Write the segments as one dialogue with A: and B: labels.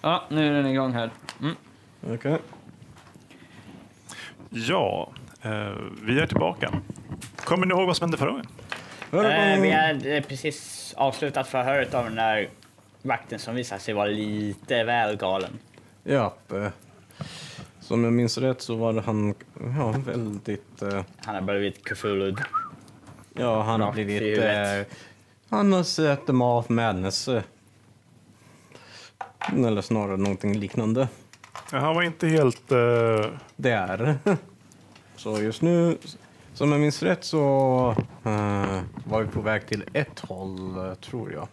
A: Ja, nu är den igång här. Mm.
B: Okej.
C: Ja, eh, vi är tillbaka. Kommer ni ihåg vad som hände förra gången?
B: Hörru,
D: Eh, vi hade precis avslutat förhöret av den där vakten som visade sig vara lite väl galen.
B: Ja, eh, som jag minns rätt så var han ja, väldigt... eh,
D: Han har blivit kufulud.
B: Ja, han har
D: Rakt i
B: blivit...
D: huvudet.
B: eh, Han har sett dem av madness. eh. Eller snarare någonting liknande.
C: Ja, Han var inte helt... Eh,
B: Det är. Så just nu, som jag minns rätt så eh, var vi på väg till ett håll, eh, tror jag.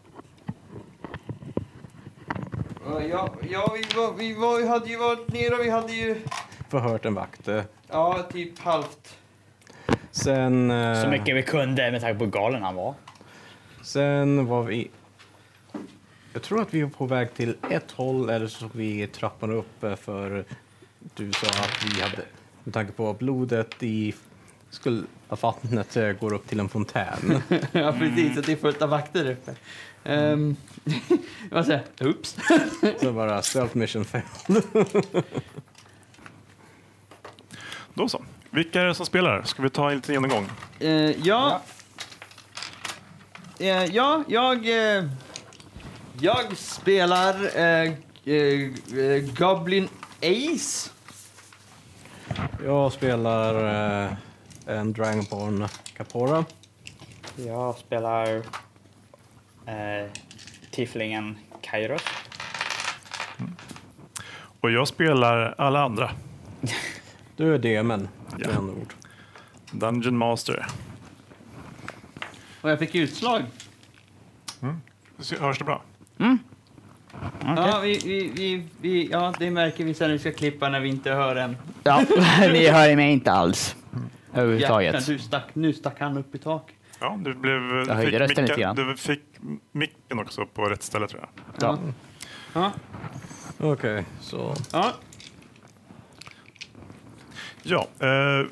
E: Ja, ja vi, var, vi var, hade ju varit nere vi hade ju...
B: Förhört en vakt. eh.
E: Ja, typ halvt.
B: Sen... eh,
D: Så mycket vi kunde med tanke på hur galen han var.
B: Sen var vi... Jag tror att vi var på väg till ett håll eller så såg vi trappan upp eh, för du sa att vi hade, med tanke på blodet i skulle, att vattnet eh, går upp till en fontän.
A: ja, precis. Att det är fullt av vakter där uppe. Um, vad säger jag? Oops.
B: så bara self mission fail.
C: då så. Vilka är det som spelar? Ska vi ta en liten genomgång?
A: Eh, ja. Eh, ja, jag... eh, jag spelar eh, eh, eh, Goblin Ace.
B: Jag spelar eh, en Dragonborn Capora.
D: Jag spelar eh, tieflingen Kairos.
C: Och jag spelar alla andra.
B: Du är demen, med
C: Ja.
B: andra ord.
C: Dungeon Master.
A: Och jag fick utslag.
C: Hörs det bra?
A: Ja, vi, vi, vi, vi, ja, det märker vi sen när vi ska klippa när vi inte hör en.
F: Ja, ni hör mig inte alls.
A: Jäklar,
F: Överhuvudtaget.
A: du stack, nu stack han upp i taket.
C: Ja, du blev...
F: Jag
C: Du
F: höjde
C: fick,
F: rösten lite
C: micka,
F: grann.
C: du fick micken också på rätt ställe, tror jag.
F: Ja.
A: Ja,
B: Okej, så...
A: ja.
C: Ja, eh,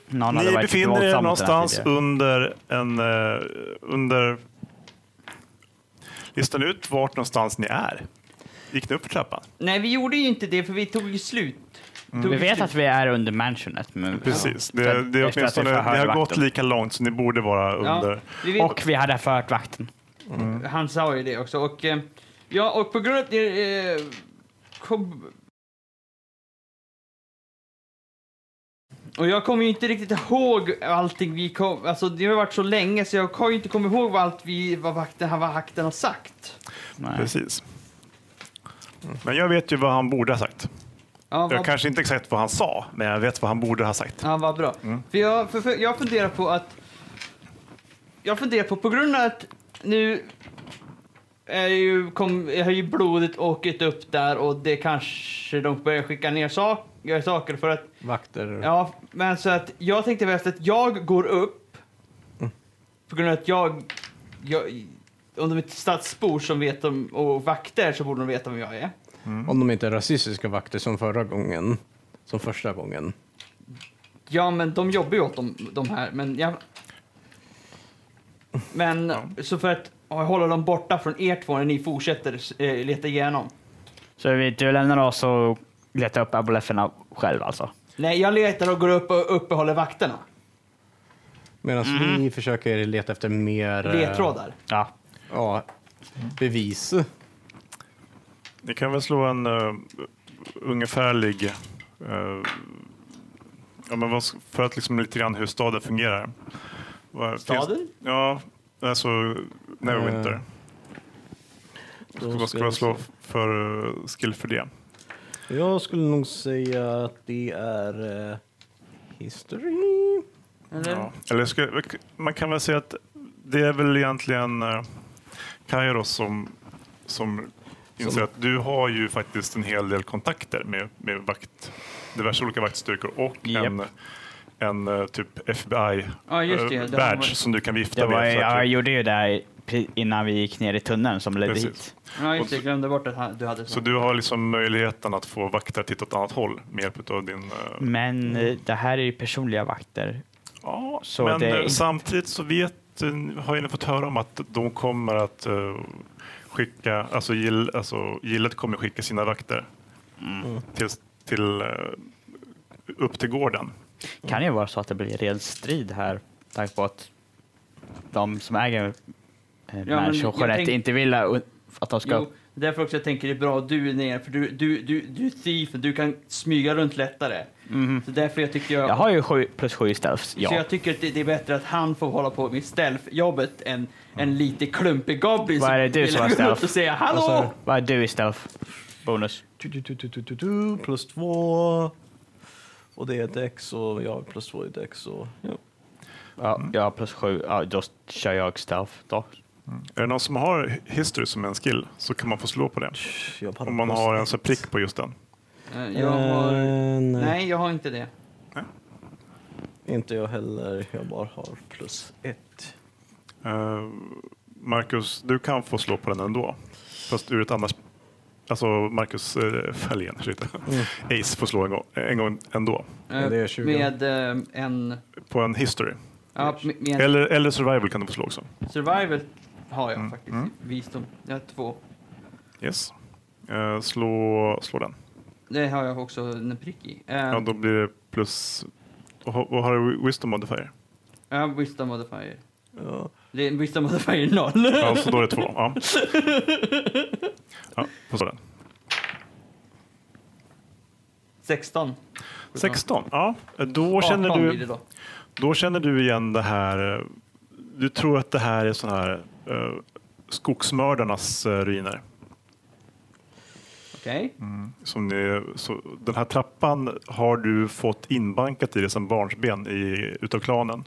F: Någon hade
C: ni
F: varit
C: befinner
F: våldsam
C: er
F: mot
C: någonstans
F: den här
C: under en... Eh, under... Listan ut vart någonstans ni är. Gick ni upp för trappan?
A: Nej, vi gjorde ju inte det för vi tog ju slut. Tog
D: Mm. Vi
A: ju
D: vet
A: slut.
D: att vi är under mansionet. Men,
C: Precis,
D: Ja.
C: det,
D: För-
C: det
D: efter
C: är
D: att vi
C: åtminstone...
D: förhör
C: Ni har
D: vakten.
C: gått lika långt så ni borde vara under...
A: vi vet,
D: Och Mm. vi hade förhört vakten.
A: Han sa ju det också. Och, eh, ja, och på grund av att det... Eh, kom... Och jag kommer ju inte riktigt ihåg allting vi kom... Alltså det har varit så länge så jag har ju inte kommit ihåg vad allt vi... Vad vakten, vad vakten har sagt.
D: Nej.
C: Precis. Men jag vet ju vad han borde ha sagt.
A: Ja,
C: Jag
A: vad,
C: kanske inte exakt vad han sa, men jag vet vad han borde ha sagt.
A: ja, vad bra. För, jag, för, för jag funderar på att... Jag funderar på, på grund av att nu... Är ju, kom, har ju blodet åkt upp där och det kanske de börjar skicka ner sak, saker för att
B: Vakter.
A: Ja, men så att jag tänkte mest att jag går upp på grund av att jag, jag om de är ett stadsbor som vet om, och vakter så borde de veta vem jag är.
B: Om de inte är rasistiska vakter som förra gången. Som första gången.
A: Ja, men de jobbar ju åt de, de här, men jag... Men så för att hålla dem borta från er två när ni fortsätter eh, leta igenom.
D: Så vi, du lämnar oss och letar upp abolefferna själv alltså.
A: Nej, jag letar och går upp och uppehåller vakterna.
B: Medan vi försöker leta efter mer... eh,
A: Mhm. Ledtrådar.
D: Ja.
B: Ja, bevis.
C: Ni kan väl slå en eh, ungefärlig... eh, ja, men vad, s- för att liksom lite grann hur staden fungerar. Vad- finns-
A: Staden?
C: Ja, alltså Neverwinter.
B: Eh,
C: vad ska
B: vi
C: jag slå
B: se.
C: för eh, skill för det?
B: Jag skulle nog säga att det är eh, history.
A: Eller?
C: Ja. Eller ska, man kan väl säga att det är väl egentligen eh, Kairos som, som inser att du har ju faktiskt en hel del kontakter med, med vakt, diverse olika vaktstyrkor och en, en eh, typ FBI
A: Ja, just det.
C: eh,
A: Det var-
C: badge som du kan vifta
D: Det var,
C: med. för att-
D: jag gjorde ju det här pri- innan vi gick ner i tunneln som ledde
C: Precis.
D: hit.
A: Ja, just det. Jag glömde bort att han- du hade
C: Så du har liksom möjligheten att få vakter att titta åt annat håll med hjälp av din... eh,
D: Men eh, det här är ju personliga vakter.
C: Ja,
D: Så
C: men
D: det är
C: eh,
D: inte-
C: samtidigt så vet, eh, har ju ni fått höra om att de kommer att eh, skicka, alltså, gill, alltså gillet kommer skicka sina vakter
D: Mm.
C: till, till, eh, upp till gården.
D: Kan ju vara så att det blir ren strid här, tack på att de som äger eh,
A: men jag
D: människor
A: tänk-
D: inte vill eh, att de ska...
A: Jo, därför också jag tänker det är bra att du är nere, för du, du, du, du är thief, du kan smyga runt lättare. Så därför jag tycker jag...
D: Jag har ju sju, plus sju i stealth,
A: Så
D: ja.
A: jag tycker att det, det är bättre att han får hålla på med stealth-jobbet än en lite klumpig goblin
D: Vad är det du
A: vill
D: som har
A: gå
D: stealth?
A: runt och säga
B: Vad sa du?
A: hallå!
D: Vad är du i stealth? Bonus.
B: Tu, tu, tu, tu, tu, tu, tu, plus två. Och det är ett X och jag har plus två i ett X. Och, ja.
D: Ja, jag har plus sju, ja, då kör jag stealth då.
C: Är det någon som har history som en skill så kan man få slå på det.
B: jag har
C: Om man har en så prick på just den.
A: Eh, Jag har...
B: Eh, nej.
A: Nej, jag har inte det.
B: Inte jag heller. Jag bara har plus ett.
C: Eh, Marcus, du kan få slå på den ändå. Fast ur ett annars... Alltså Marcus eh, Fahlén, ursäkta.
B: Mm.
C: Ace får slå en gång, en gång ändå.
B: Ja, det är 20.
A: Med eh, en...
C: På en history.
A: Ja, med med en
C: Eller, eller survival kan du få slå också.
A: survival har
C: Mm,
A: jag faktiskt. Visdom. Jag har två.
C: Yes. Eh, slå, slå den.
A: Det har jag också en prick i. Eh,
C: Ja, då blir det plus... Vad har- vad har du wisdom modifier?
A: ja, wisdom modifier.
B: Ja.
A: Det är en wisdom modifier noll.
C: Ja, så då är det två. Ja. Ja, får slå den.
A: 16.
C: 16. Ja, då känner
A: 18 blir det
C: du...
A: då.
C: Då känner du igen det här. eh, Du tror att det här är sån här eh, skogsmördarnas eh, ruiner.
A: Okej.
C: Mm. Som ni, så, den här trappan har du fått inbankat i dig sedan barnsben i, utav klanen.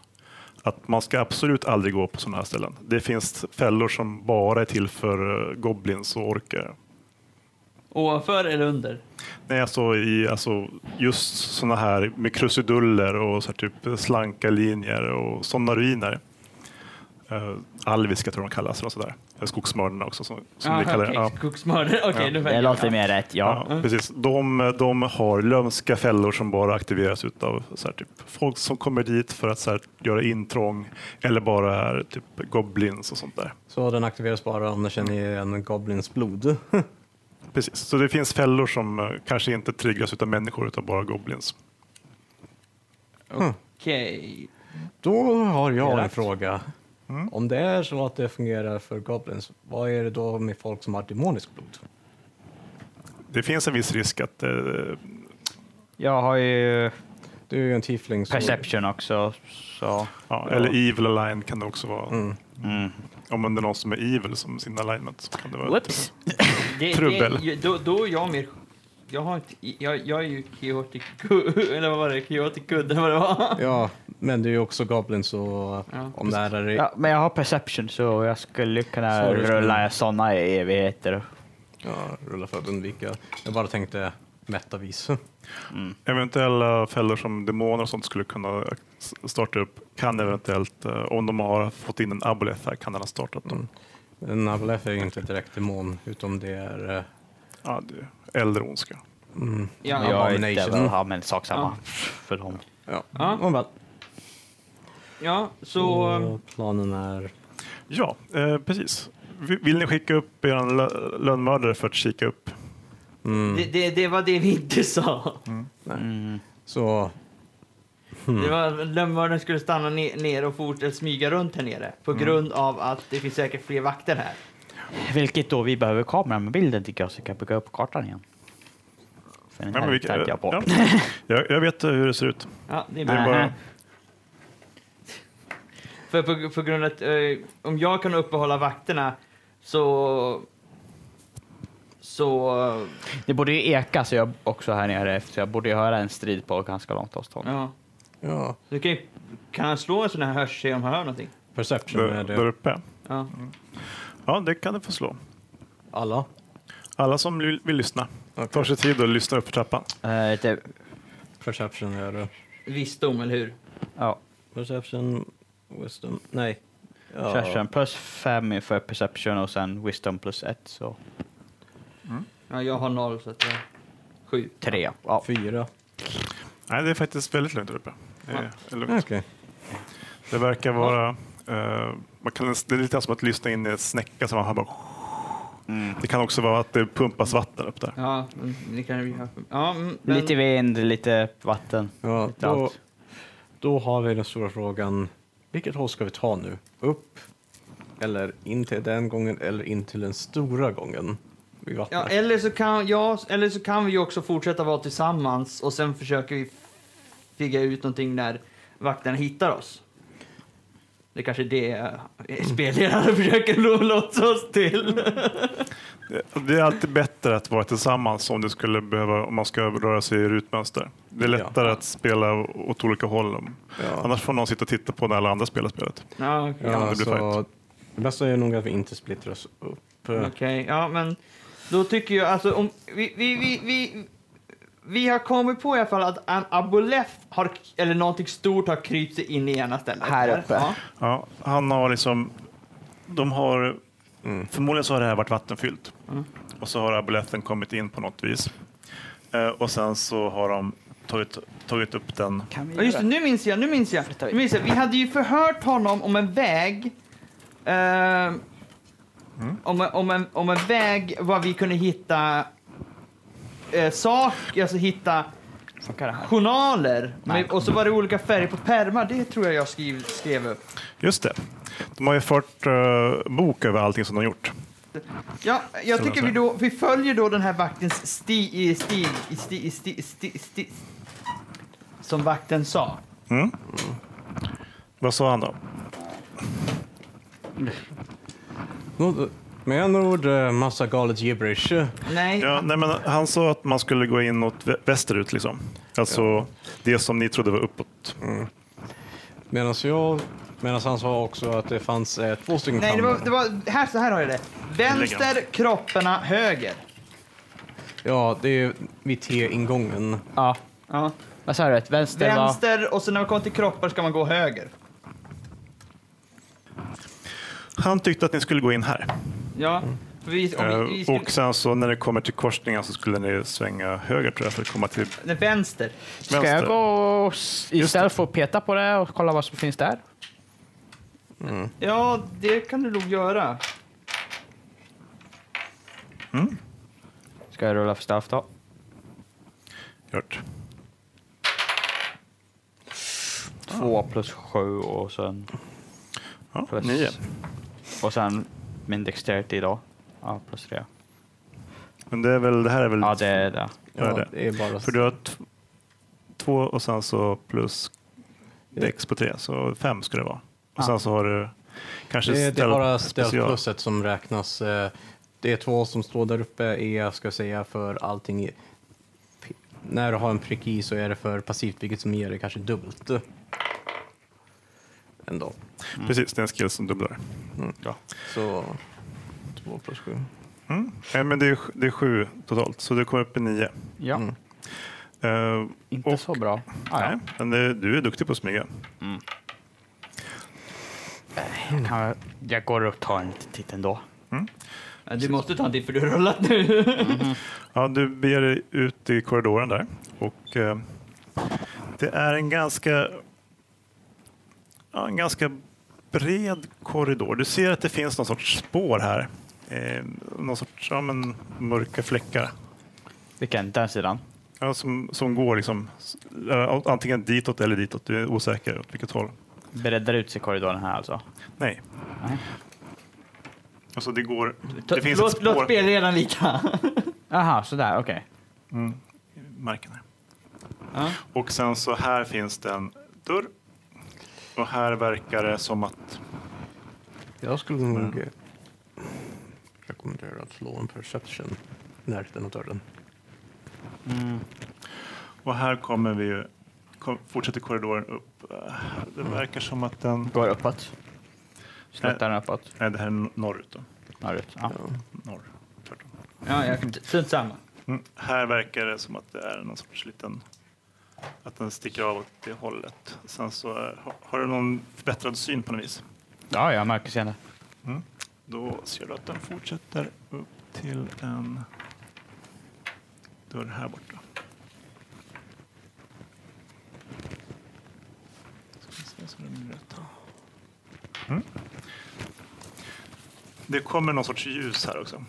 C: Att man ska absolut aldrig gå på sådana här ställen. Det finns fällor som bara är till för eh, goblins och orker.
A: Ovanför eller under?
C: Nej, alltså, i, alltså just sådana här med krusiduller och så här typ slanka linjer och sådana ruiner. Uh, alviska tror jag de kallas, och sådär. Eh, skogsmördarna också som, som
A: Aha,
C: vi kallar det.
A: Ah, okej,
C: Ja.
A: Skogsmördare.
C: Ja.
A: Okej, nu
D: Det
A: väljer jag.
D: låter mer rätt, ja.
C: Ja, mm. precis. De, de har lömska fällor som bara aktiveras av så här, typ, folk som kommer dit för att så här, göra intrång eller bara är typ goblins och sånt där.
B: Så den aktiveras bara om den känner igen Goblins blod.
C: Precis, så det finns fällor som eh, kanske inte triggas av människor utan bara goblins.
A: Okej.
B: Då har jag en
D: Rätt.
B: fråga.
A: Mm.
B: Om det är så att det fungerar för Goblins, vad är det då med folk som har demoniskt blod?
C: Det finns en viss risk att eh,
D: Jag har ju
B: Du är ju en tiefling. så-
D: perception också, så... mm.
C: ja, Mm. eller evil align kan det också vara. Om det är någon som är evil som sin alignment så kan det vara
D: Whoops!
A: Det-
C: Trubbel.
A: det- Då, då är jag mer... Jag, har inte, jag, jag är ju chaotic good, eller vad var det? Chaotic good, eller vad det var.
B: Ja, men du är ju också Goblin så
A: Ja.
B: om det här är...
D: Ja, men jag har perception så jag skulle kunna
B: Så du skulle-
D: rulla sådana i evigheter.
B: Ja, rulla för att undvika. Jag bara tänkte metavis.
C: Eventuella fällor som demoner och sånt skulle kunna eh, s- starta upp kan eventuellt, eh, om de har fått in en aboleth här, kan den ha startat dem.
B: En Avalef är ju inte direkt demon, utom det är... eh, mm,
C: Ja, det är äldre ondska.
A: Ja,
D: Jag är
B: Abomination.
D: inte ja, men sak samma för dem.
B: Ja,
A: Ja.
B: ja. väl.
A: ja, så...
B: Och planen är...
C: Ja, eh, precis. Vi- Vill ni skicka upp er lö- lönnmördare för att kika upp?
B: mm.
A: Det, det, det var det vi inte sa.
B: Så
C: Mm.
A: Det var lönnmördaren skulle stanna ne- ner och fortsätta smyga runt här nere på
C: Mm.
A: grund av att det finns säkert fler vakter här.
D: Vilket då vi behöver kameran med bilden tycker jag så vi kan bygga upp kartan igen. För den
C: Ja,
D: här
C: men vi-
D: tänkte jag på.
C: ja. jag, jag vet eh, hur det ser ut.
A: Ja, det är
C: Det är
A: bra. Mm.
C: bara,
A: För på, på grund av att eh, om jag kan uppehålla vakterna så... Så...
D: Det borde ju eka så jag också här nere efter så jag borde ju höra en strid på ganska långt avstånd.
A: Ja.
B: ja,
A: Du kan, ju- kan han slå en sån här hörs se om han hör någonting?
B: perception
C: där,
B: är
C: där
B: det.
C: uppe.
A: Ja.
C: Ja, det kan du få slå.
B: Alla?
C: Alla som vill, vill lyssna tar sig tid och lyssnar upp för trappan.
D: Eh, det,
B: Perception är det.
A: Visdom, eller hur?
D: ja,
B: Perception, wisdom, nej. Ja.
D: perception plus fem för perception och sen wisdom plus ett så
A: Ja, jag har noll så att jag... Sju.
D: tre. Ja.
B: Fyra.
C: Nej, det är faktiskt väldigt lugnt där uppe. Det, är- är lugnt.
B: Okej.
D: Mm.
C: det verkar vara... eh, man kan, det är lite som att lyssna in i en snäcka som man hör bara...
D: Mm.
C: Det kan också vara att det pumpas vatten upp där.
A: Ja, mm, det kan vi ha. Ja, mm, men,
D: Lite vind, lite vatten.
B: Ja,
D: Lite
B: då,
D: allt.
B: då har vi den stora frågan. Vilket håll ska vi ta nu? Upp eller in till den gången eller in till den stora gången? Vid
A: ja, eh,
B: vattnet.
A: eller, så kan, ja, eller så kan vi ju också fortsätta vara tillsammans och sen försöker vi figga ut någonting när vakterna hittar oss. Det kanske är det eh, spelledaren försöker lo- lotsa oss till.
C: Det- Det är alltid bättre att vara tillsammans om, det skulle behöva, om man ska röra sig i rutmönster. Det är
B: Ja.
C: lättare att spela åt olika håll. om-
B: Ja.
C: Annars får någon sitta och titta på när alla andra spelar spelet.
A: Ja, okej.
C: Ja,
B: Ja,
C: det blir
B: så det bästa är nog att vi inte splittras upp.
C: Mm.
A: Okej, ja men då tycker jag alltså om vi, vi, vi, vi, vi har kommit på i alla fall att en abolef har, eller någonting stort har krypt sig in i ena stället.
F: Här uppe.
A: Ja,
C: Ja, han har liksom... De har...
B: Mm.
C: Förmodligen så har det här varit vattenfyllt. Och så har abuletten kommit in på något vis. Eh, och sen så har de tagit, tagit upp den.
D: Kan vi
A: Ja, just det, nu minns jag, nu minns jag. Nu minns jag. Vi hade ju förhört honom om en väg. Eh, om, en- om, en, om en väg var vi kunde hitta eh, sak, alltså hitta
D: Funkar det här?
A: journaler.
D: Nej.
A: Men, och så var det olika färger på pärmar, det tror jag jag skrev, skrev upp.
C: Just det. De har ju fört eh, bok över allting som de har gjort.
A: Ja, jag
C: Så
A: tycker
C: löser
A: vi, då, vi följer då den här vaktens sti i stig i sti i sti, i sti, i sti som vakten sa.
C: Mm.
B: Mm.
C: Vad sa han då?
B: Nå- Med andra ord, eh, massa galet gibberish.
A: Nej,
C: Ja, nej, men han sa att man skulle gå inåt vä- västerut. Liksom. Alltså det som ni trodde var uppåt.
B: Medan jag, medan han sa också att det fanns eh, två stycken
A: nej det var,
B: kammare.
A: det var här, så här har jag det. Vänster, kropparna, höger.
B: Ja, det är vid T-ingången.
F: Ja.
A: Ja.
F: Vad sa du? Ett vänster var...
A: Vänster och sen när man kommer till kroppar ska man gå höger.
C: Han tyckte att ni skulle gå in här.
A: Ja. Vi, om vi, vi
C: Mm. Eh,
A: skulle,
C: och sen så när det kommer till korsningen så skulle ni svänga höger tror jag för att komma till
A: nej, vänster.
F: Ska jag
C: vänster.
F: gå och s- istället för att peta på det och kolla vad som finns där?
A: Ja, det kan du nog göra.
D: Ska jag rulla för straff då?
C: Gjort.
D: Två plus sju och sen...
C: Ja,
D: Plus.
C: nio.
D: Och sen min dexterity då. Ja, plus tre.
C: Men det, är väl, det här är väl...
D: Ja, det är det.
C: Ja, det.
B: är bara...
C: För du har t- två och sen så plus dex på tre, så fem skulle det vara. Och sen så har du kanske
B: Det, det är
C: stealth-
B: bara
C: special.
B: stealth-plusset som räknas. eh, Det är två som står där uppe är, ska jag säga, för allting. i- p- När du har en prick i så är det för passivt, vilket som ger det kanske dubbelt. Ändå.
C: Precis, det är en skill som dubblar. Ja.
B: Så... Två plus sju.
C: Mm. Nej, men det är, sj- det är sju totalt, så du kommer upp i nio. Mm.
F: Ja.
C: Eh,
F: Inte så bra. Ah,
C: nej,
F: ja.
C: men det, du är duktig på att smyga.
D: Jag,
C: Mm.
D: kan, jag går och tar en liten titt ändå.
A: Ja, Du måste ta en tid för du har rullat nu.
C: Ja, du beger dig ut i korridoren där. Och, eh, det är en ganska, ja, en ganska bred korridor. Du ser att det finns någon sorts spår här. Eh, någon sorts ja, men, mörka fläckar.
D: Vilken? Den sidan?
C: Ja, som, som går liksom, s- eh, antingen ditåt eller ditåt. Du är osäker åt vilket håll.
D: Breddar ut sig korridoren här alltså.
C: Nej.
D: Nej.
C: Alltså det går...
A: Ta-
C: Det finns ett
A: låt, låt
C: spår.
A: spelledaren lita.
D: Aha, sådär, okej.
C: marken här. Och sen så här finns det en dörr. Och här verkar det som att...
B: Jag skulle nog eh, rekommendera att slå en perception i närheten av dörren.
C: Och här kommer vi ju... Kom, fortsätter korridoren upp. Eh, Det verkar som att den...
D: Går uppåt. Sluttar den uppåt?
C: Nej, det här är n- norrut. Då.
D: Norrut? Ja.
C: Norr. Tvärtom.
A: Ja, jag, strunt samma.
C: Mm. Här verkar det som att det är någon sorts liten... Att den sticker av åt det hållet. Sen så eh, har, har du någon förbättrad syn på något vis.
D: Ja, jag märker senare.
C: Då ser du att den fortsätter upp till en dörr här borta. Ska vi se så den blir rätt här. Mm. Det kommer någon sorts ljus här också.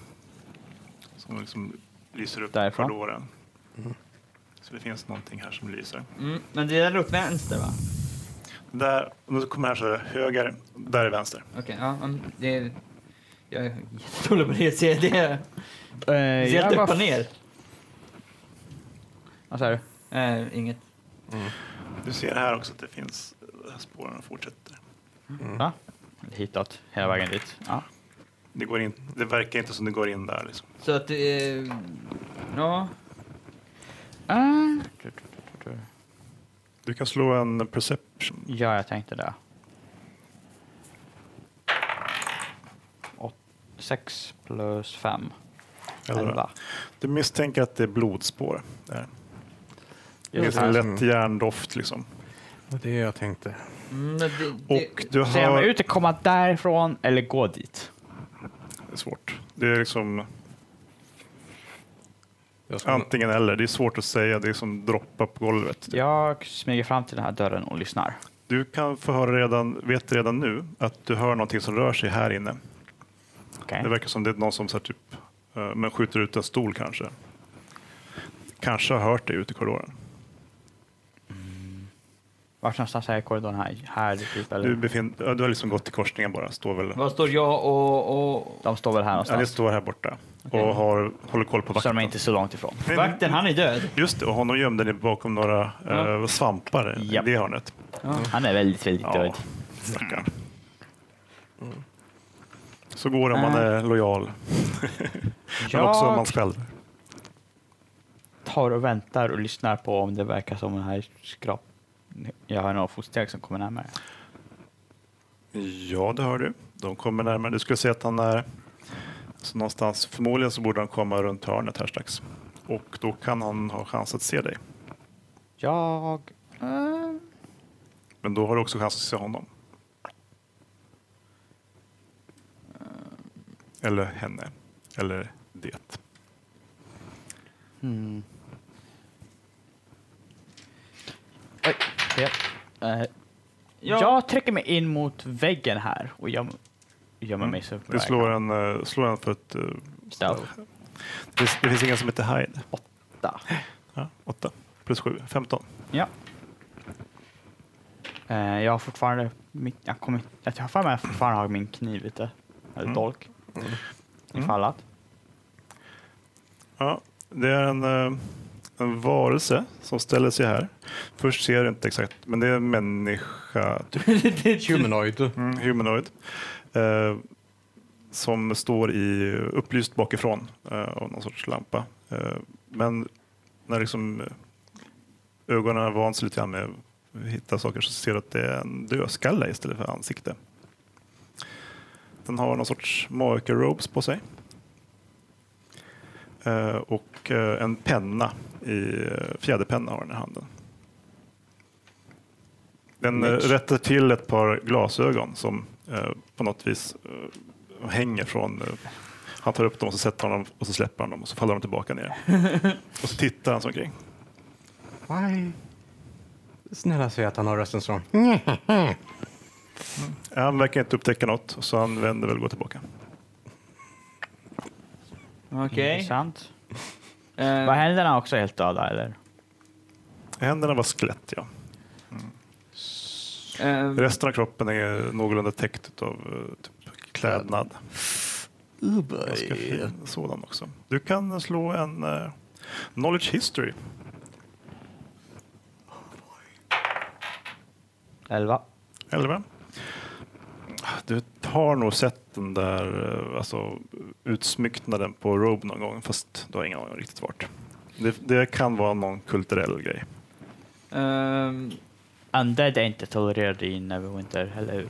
C: som liksom lyser upp
G: Därifrån?
C: korridoren. Så det finns någonting här som lyser.
A: Mm. Men det är där upp vänster va?
C: Där, om du kommer här så är det höger, där är vänster.
A: Okej, ja. mm, Det är... Jag är jättedålig på det. ser jag Det
G: Eh,
A: Det ser helt
G: bara-
A: upp och ner.
G: Vad säger du?
A: Eh, inget.
C: Du ser här också att det finns eh, spåren fortsätter.
F: Va? Hitåt, hela vägen dit. Ja.
C: Det, går in, det verkar inte som det går in där. Liksom.
A: Så att det är... Ja.
G: Eh,
C: Du kan slå en perception.
F: ja, jag tänkte det. Åt- sex plus fem.
C: Eller-
F: Elva.
C: Du misstänker att det är blodspår. Där. Det
G: Jo,
C: är
G: det
C: en lätt järndoft. Liksom.
B: Det är det jag tänkte.
A: Mm, men det, det,
C: Och du
F: Ser man
C: hör...
F: ut att komma därifrån eller gå dit?
C: Det är svårt. Det är liksom
B: Jag ska,
C: antingen eller. Det är svårt att säga. Det är som droppa på golvet.
F: Jag smyger fram till den här dörren och lyssnar.
C: Du kan få höra redan, vet redan nu att du hör någonting som rör sig här inne.
F: Okej.
C: Det verkar som det är någon som så här, typ, eh, men skjuter ut en stol kanske. Kanske har hört dig ute i korridoren.
F: Vart någonstans är korridoren här? Här typ, eller?
C: Du, befin- ja, du har liksom gått till korsningen bara. Står väl.
A: vad står jag och... och
F: De står väl här
C: Ja, ni
F: någonstans?
C: står här borta och har, håller koll på
F: så
C: vakten.
F: de är inte så långt ifrån.
C: Nej, men-
A: vakten, han är död.
C: Just det, och honom gömde ni bakom några eh, svampar
F: Japp.
C: i det hörnet.
F: Han är väldigt, väldigt död.
C: stackarn.
F: Mm.
C: Så går det om
F: Eh.
C: man är lojal. Men också om man själv.
F: tar och väntar och lyssnar på om det verkar som den här skrap... Jag hör några fotsteg som kommer närmare.
C: Ja, det hör du. De kommer närmare. Du skulle säga att han är så någonstans. Förmodligen så borde han komma runt hörnet här strax. Och då kan han ha chans att se dig.
F: Jag... eh,
C: Men då har du också chans att se honom. Eller henne. Eller det.
F: hmm. Oj, fel. Eh,
A: Ja.
F: Jag trycker mig in mot väggen här och göm, gömmer mig så bra
C: Mm. Du
F: jag
C: slår
F: kan.
C: en, eh, slår en för ett... eh,
F: Stealth.
C: Det finns, det finns ingen som heter hide.
F: Där.
C: Ja, åtta plus sju, femton.
F: Ja. Eh, jag har fortfarande... Min, jag, kommer, jag har för mig att jag fortfarande har min kniv ute. Eller
C: Mm.
F: dolk.
C: Mm.
F: Ifall att.
C: Ja, det är en, eh, en varelse som ställer sig här. Först ser du inte exakt, men det är en människa, typ
B: humanoid.
C: mm, humanoid, eh, som står i upplyst bakifrån eh, av någon sorts lampa. Eh, men när liksom eh, ögonen har vant sig lite grann med att hitta saker så ser du att det är en dödskalle istället för ansikte. Den har någon sorts magiker-robes på sig. Eh, och eh, en penna, i eh, fjäderpenna har den i handen. Den eh, rättar till ett par glasögon som eh, på något vis eh, hänger från... Eh, han tar upp dem och så sätter han dem och så släpper han dem och så faller de tillbaka ner. och så tittar han sig omkring.
B: Why? Snälla säg att han har rösten som...
C: Han verkar inte upptäcka något så han vänder väl och går tillbaka.
F: Mm,
A: Okej.
F: Intressant.
A: Eh,
F: Var händerna också helt döda eller?
C: Händerna var skelett, ja.
A: eh,
C: Resten av kroppen är någorlunda täckt av eh, typ, klädnad. Ganska fin sådan också. Du kan slå en eh, knowledge history.
F: Elva.
C: Elva. Du har nog sett den där eh, alltså, utsmycknaden på Robe någon gång, fast du har ingen aning om riktigt vart. Det, det kan vara någon kulturell grej.
A: ehm,
F: Undead är inte tolererade i Neverwinter, eller hur?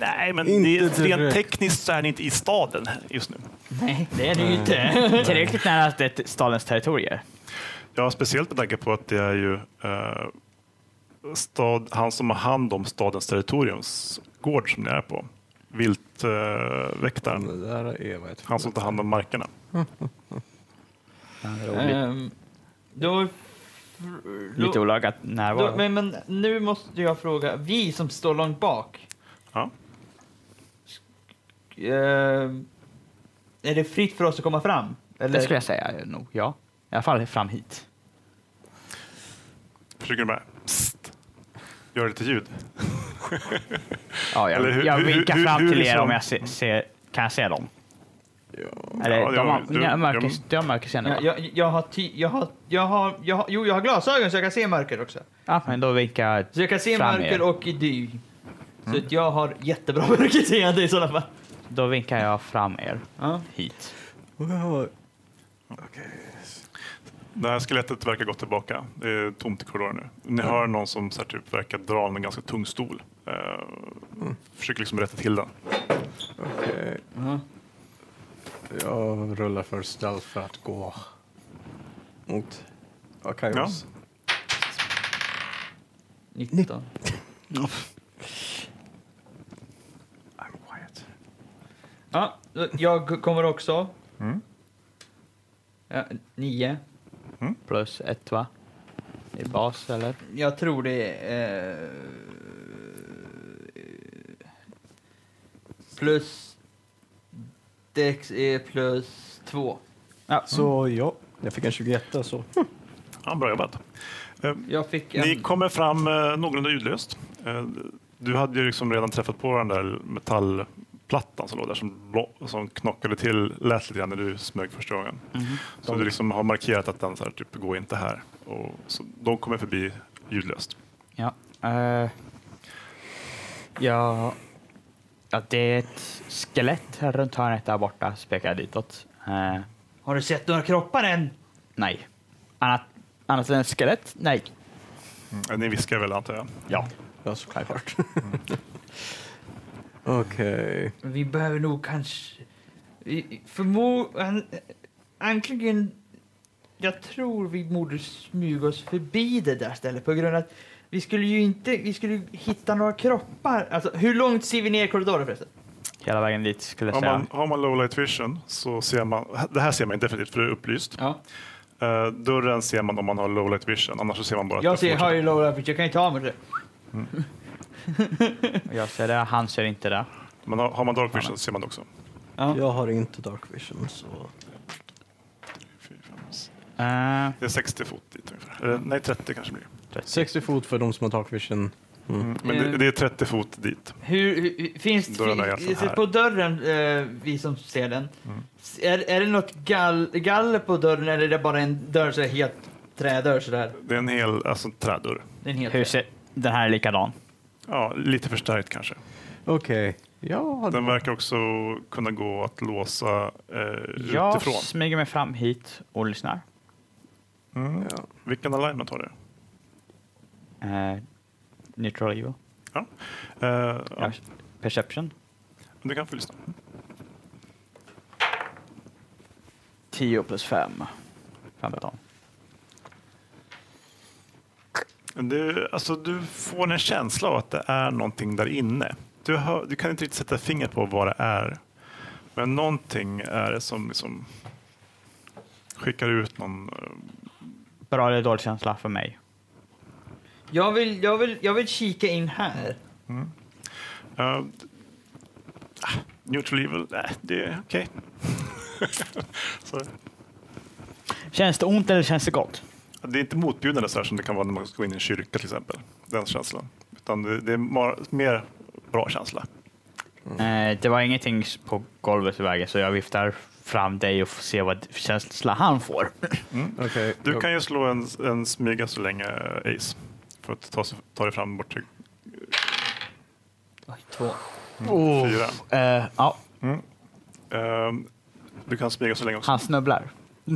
C: Nej, men
B: Inte det- rent direkt.
C: tekniskt så är ni inte i staden just nu.
A: nej, det är det ju inte.
F: Tillräckligt nära att det är stadens territorier.
C: Ja, speciellt med tanke på att det är ju eh, stad, han som har hand om stadens territoriums gård som ni är på. Viltväktaren, eh, väktaren.
B: Det där är vad jag
C: han som tar hand om markerna.
A: Ehm, då,
F: Lite
A: då,
F: olagat närvaro.
A: då, men, men nu måste jag fråga, vi som står långt bak,
C: Ja.
A: eh, ehm, är det fritt för oss att komma fram?
F: Det
A: Eller?
F: skulle jag säga nog, ja. I alla fall fram hit.
C: Försöker du bara psst, göra lite ljud?
F: Ja, jag,
C: Eller hur-
F: jag
C: hur-
F: vinkar
C: hur-
F: fram
C: hur
F: till er
C: liksom-
F: om jag se, ser, kan jag se dem. Eller,
C: Ja,
F: de,
C: jag-
F: har,
C: du-
F: ni har mörker,
C: jag-
F: du har mörker senare
A: Ja,
F: va?
A: jag, jag, har ty, jag, har, jag, har, jag har... Jo, jag har glasögon så jag kan se mörker också.
F: Ja, men då vinkar jag.
A: Så jag kan se
F: Fram Mm.
A: mörker
F: igen.
A: och idy. Så att jag har jättebra mörkerseende i sådana fall.
F: Då vinkar jag fram er
A: Ja.
F: hit.
B: Wow.
C: Det här skelettet verkar gått tillbaka. Det är tomt i korridoren nu. Ni hör någon som så här, typ, verkar dra en ganska tung stol. Eh, Försöker liksom rätta till den.
B: Okej. Jag rullar för stealth för att gå mot Akaios.
A: 19.
B: I'm quiet.
A: Ja, jag kommer också. Ja, nio.
F: Plus ett va? I bas eller?
A: Jag tror det är... Eh, plus... Dex är plus två.
B: Så ja, jag fick en 21 så.
C: Ja, bra jobbat. Eh,
A: Jag fick en...
C: Ni kommer fram eh, någorlunda ljudlöst. Eh, du hade ju liksom redan träffat på den där metallplattan som låg där som, blå- som knockade till, lät lite grann när du smög första gången. Så du liksom har markerat att den så här, typ, går inte här. Och, så de kommer förbi ljudlöst.
F: Ja. eh, ja. Ja, det är ett skelett här runt hörnet där borta, spekar jag ditåt. Eh,
A: Har du sett några kroppar än?
F: nej. Annat, annat än ett skelett? Nej.
C: Eh, Ni viskar väl antar jag?
F: Ja.
B: Ja, såklart. Okej.
A: Vi behöver nog kanske... vi- Förmo... an- Anklagen... Jag tror vi borde smyga oss förbi det där stället på grund av att vi skulle ju inte... Vi skulle ju hitta några kroppar. Alltså, hur långt ser vi ner i korridoren förresten?
F: Hela vägen dit skulle jag
C: Om
F: säga.
C: man, har man low light vision så ser man, det här ser man definitivt för det är upplyst.
A: Ja.
C: Eh, dörren ser man om man har low light vision, annars så ser man bara att
A: Jag
C: det
A: ser
C: fortsätter.
A: Harry Lola, för jag kan inte ha mig det.
F: Jag ser det, han ser inte det.
C: Men har, har man dark vision så ser man det också.
B: Jag har inte dark vision så...
C: Fy fan, alltså.
F: Eh,
C: Det är 60 fot dit ungefär. Eller, nej, 30 kanske blir.
B: 60 fot för de som har dark vision.
C: Mm, Men
A: Eh.
C: det, det är 30 fot dit.
A: Hur, hur, finns
C: Dörren är
A: fi-
C: alltså här. Mm.
A: på dörren, eh, vi som ser den, s- är, är det något gall, galler på dörren eller är det bara en dörr så här helt trädörr sådär?
C: Det är en hel alltså, trädörr.
A: Den helt
F: hur ser, den här är likadan.
C: Ja, lite förstärkt kanske.
B: Okej. Ja,
C: Den verkar också kunna gå att låsa eh,
F: Jag
C: utifrån.
F: smyger mig fram hit och lyssnar.
C: Mm.
B: Ja.
C: Vilken alignment har du?
F: Eh, neutral evil.
C: Ja. Eh, ja.
F: Perception.
C: Du kan få lyssna.
F: 10 plus 5. 15.
C: Du, alltså, du får en känsla av att det är någonting där inne. Du, hör, du kan inte riktigt sätta fingret på vad det är. Men någonting är det som liksom skickar ut någon... eh,
F: Bra eller dålig känsla för mig?
A: Jag vill, jag, vill, jag vill kika in här.
C: ja, d- ah, neutral evil, nej, det är okej. Så,
F: Känns det ont eller känns det gott?
C: det är inte motbjudande så här som det kan vara när man ska gå in i en kyrka till exempel. Den känslan. Utan det, det är mar- mer bra känsla. Mm.
F: Eh, det var ingenting s- på golvet i vägen så jag viftar fram dig och får se vad d- känsla han får.
B: okej.
C: Du kan ju slå en, en smyga så länge eh, Ace. För att ta, sig- ta dig fram bort till
A: Oj, två.
C: Mm,
B: Oh.
C: fyra.
F: Eh, ja,
C: Ehm, du kan smyga så länge också.
F: han snubblar.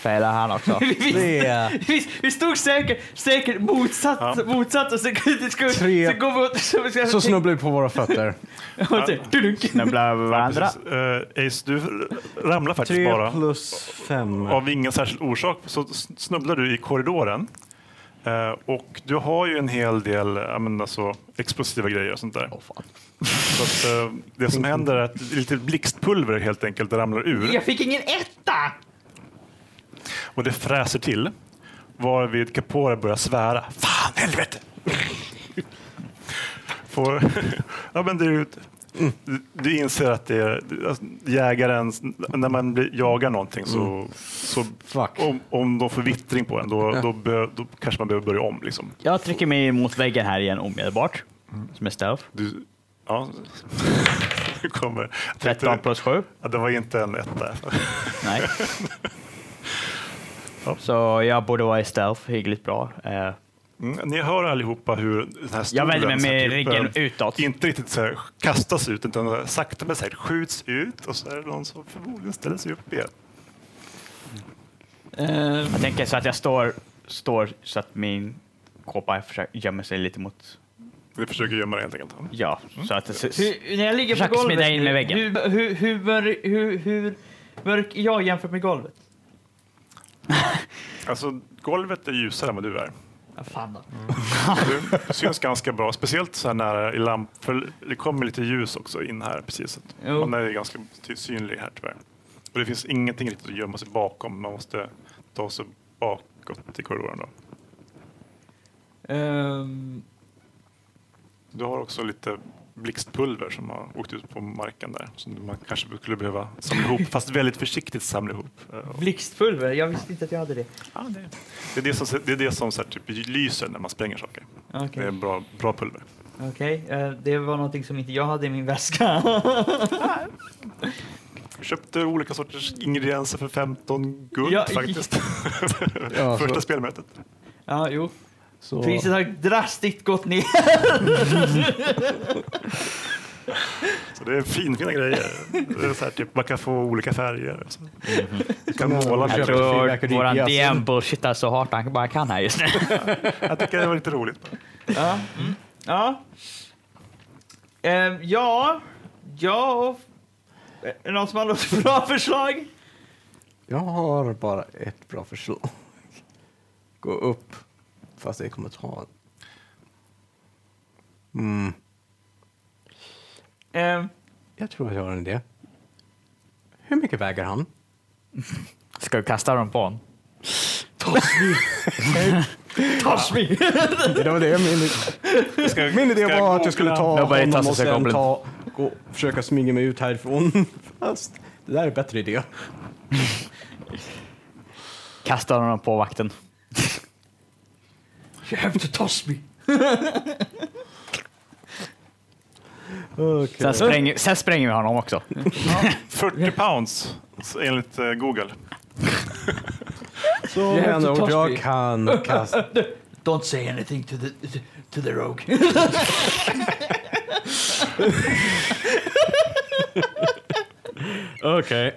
F: Failar han också.
B: Tre.
A: Vi, vi stod säkert, säkert motsatt,
C: Ja.
A: motsatt och så, det ska,
B: Tre.
A: så går vi åt... Så, vi ska-
B: Så snubblar vi på våra fötter.
A: och så- dudunk.
F: Snubblar över varandra.
C: Precis. Eh, Ace, du ramlar faktiskt
B: Tre
C: bara.
B: plus fem.
C: Av ingen särskild orsak så snubblar du i korridoren. Eh, och du har ju en hel del eh, jag menar, så, explosiva grejer och sånt där. Så att, eh, det som händer är att lite blixtpulver helt enkelt ramlar ur
A: Jag fick ingen etta!
C: och det fräser till. Varvid Capora börjar svära. Fan, helvete! Får, ja, men det är ju ett Du inser att det är alltså, jägaren, när man blir- jagar någonting så, så
B: Fuck.
C: om, om de får vittring på en då, då, bör, då kanske man behöver börja om. Liksom.
F: Jag trycker mig mot väggen här igen omedelbart. Som är stealth.
C: Du, ja. Du kommer. Jag tänkte-
F: 13 plus 7.
C: Ja, det var inte en etta.
F: Nej. Så jag borde vara i stealth hyggligt bra. Eh,
C: Mm, Ni hör allihopa hur den här
F: Jag vänder mig
C: stolen,
F: med
C: den här typen,
F: ryggen utåt.
C: Inte riktigt så här, kastas ut, utan sakta men säkert skjuts ut och så är det någon som förmodligen ställer sig upp igen.
F: Jag tänker så att jag står, står så att min kåpa försöker gömmer sig lite mot...
C: Vi försöker gömma det helt enkelt.
F: Ja, så att det, s-
A: Hur, när jag ligger
F: Försök
A: på golvet
F: smida in
A: nu,
F: med väggen.
A: Hur, hur, hur, mör- hur, hur mörk är jag jämfört med golvet?
C: Alltså, golvet är ljusare än vad du är.
A: Ja, fan då.
F: Ah.
C: Du syns ganska bra, speciellt så här nära i lamp, för det kommer lite ljus också in här precis. Så att
A: Jo.
C: Man är ganska ty- synlig här tyvärr. Och det finns ingenting riktigt att gömma sig bakom. Man måste ta sig bakåt i korridoren. Då.
A: Ehm,
C: Du har också lite blixtpulver som har åkt ut på marken där som man kanske skulle behöva samla ihop, fast väldigt försiktigt samla ihop. Eh, och-
A: blixtpulver, jag visste inte att jag hade det.
C: Det är det som, det är det som så här, typ, lyser när man spränger saker.
A: Okej,
C: Det
F: Ehm.
C: är bra, bra pulver.
A: okej. Eh, det var någonting som inte jag hade i min väska.
C: Jag köpte olika sorters ingredienser för 15 guld
A: Ja, i-
C: faktiskt.
B: Ja,
C: Första
B: så-
C: spelmötet.
A: ja, jo.
B: Så,
A: Priset har drastiskt gått ner.
C: Så det är finfina grejer. Det är så här, typ, man kan få olika färger. Så. Du kan måla.
F: Mm-hmm.
B: Jag
F: jag
C: med.
B: köper
F: tror
B: fyrverkeri
F: våran
B: i jazzen.
F: DM bullshittar så hårt han bara kan här just nu.
C: Jag tycker det var lite roligt.
A: ja. Mm. Ja. Ehm, ja. Ja. Är det någon som har något bra förslag?
B: jag har bara ett bra förslag. Gå upp, fast det kommer ta... Mm,
A: Ehm,
B: jag tror att jag har en idé. Hur mycket väger han?
F: Ska du kasta dem på honom?
A: touch me!
B: Det var det min, min idé
C: ska jag
B: var att jag skulle ta
F: googla? Nobody
B: honom och
F: touches a
B: sen
F: goblin.
B: ta, gå, försöka smyga mig ut härifrån. Fast det där är en bättre idé.
F: Kasta honom på vakten.
A: You have to touch me!
F: Sen
B: Okay.
F: spränger, sen spränger vi honom också.
C: 40 pounds så enligt eh, Google.
B: Så
A: have
B: med andra
A: to
B: ord,
A: touch
B: jag
A: me.
B: kan kasta...
A: Don't say anything to the, to the rogue.
B: Okej.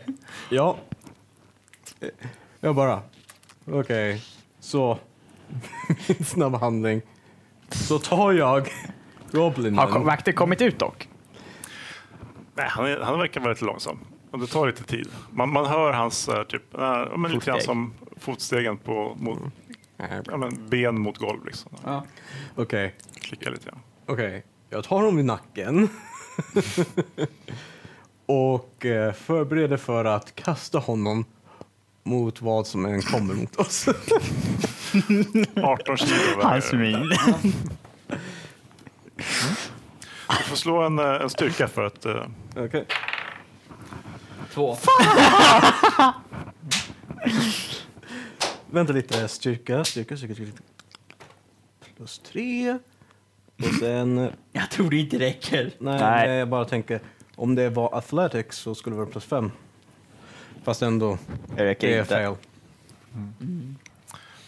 B: Ja. Jag bara... Okej. Så. Snabb handling. Så tar jag
F: Har ko-
B: Goblinen.
F: vakten kommit ut dock?
C: Nej, han, är, han verkar vara lite långsam. Och det tar lite tid. Man, man hör hans eh, typ, eh, ja, men lite grann
F: Fotsteg.
C: som fotstegen på mot, ja, men ben mot golv. Liksom.
B: Okej.
C: Klickar lite grann.
B: Okej. Jag tar honom vid nacken. Och eh, förbereder för att kasta honom mot vad som än kommer mot oss.
C: 18 kilo
F: Hans
C: väger.
F: min.
C: Du får slå en, eh, en styrka för att eh,
B: Okej.
A: Två.
B: Vänta lite. Styrka, styrka, styrka, styrka. Plus tre. Och sen
A: Jag tror det inte räcker.
B: Nej,
F: Nej.
B: nej, jag bara tänker om det var athletics så skulle det vara plus fem. Fast ändå,
D: Det räcker
B: det är
D: inte.
B: fel.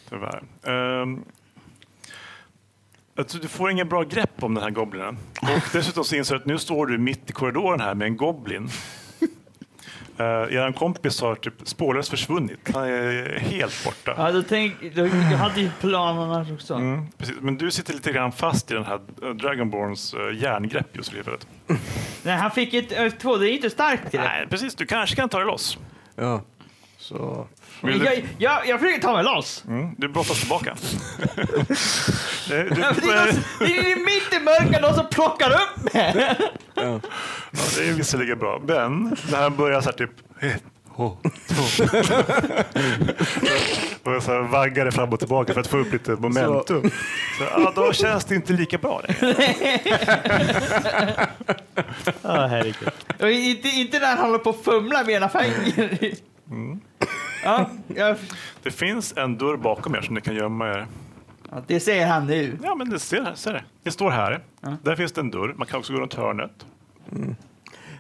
C: Tyvärr. Ehm, alltså, du får ingen bra grepp om den här goblinen. Och dessutom så inser du att nu står du mitt i korridoren här med en goblin. Uh, er kompis har typ spårlöst försvunnit. Han är helt borta.
A: Ja, då tänk, då, jag hade ju plan annars också.
C: Mm, precis. Men du sitter lite grann fast i den här eh, Dragonborns uh, järngrepp just för tillfället.
A: Nej, han fick ett ö, två, det är inte starkt till det.
C: Nej, precis. Du kanske kan ta dig loss.
B: Ja. Så,
C: Vill du,
A: Jag, jag, jag försöker ta mig loss.
C: mm, du brottas tillbaka. Det- du-
A: Ja, för Det är, någon, som- det är ju mitt i mörkret någon som plockar upp mig.
C: Ja, det är visserligen bra, men det här börjar så här typ... ho, ho. och jag så här vaggade fram och tillbaka för att få upp lite momentum. Så. ja, då känns det inte lika bra längre.
F: Ja, herregud.
A: Och inte, inte när han håller på att fumla med ena fingret.
C: Mm.
A: Ja, jag,
C: Det finns en dörr bakom er som ni kan gömma er.
A: ja, det säger han nu.
C: Ja, men det ser, ser det. Ni står här. Där finns det en dörr. Man kan också gå runt hörnet.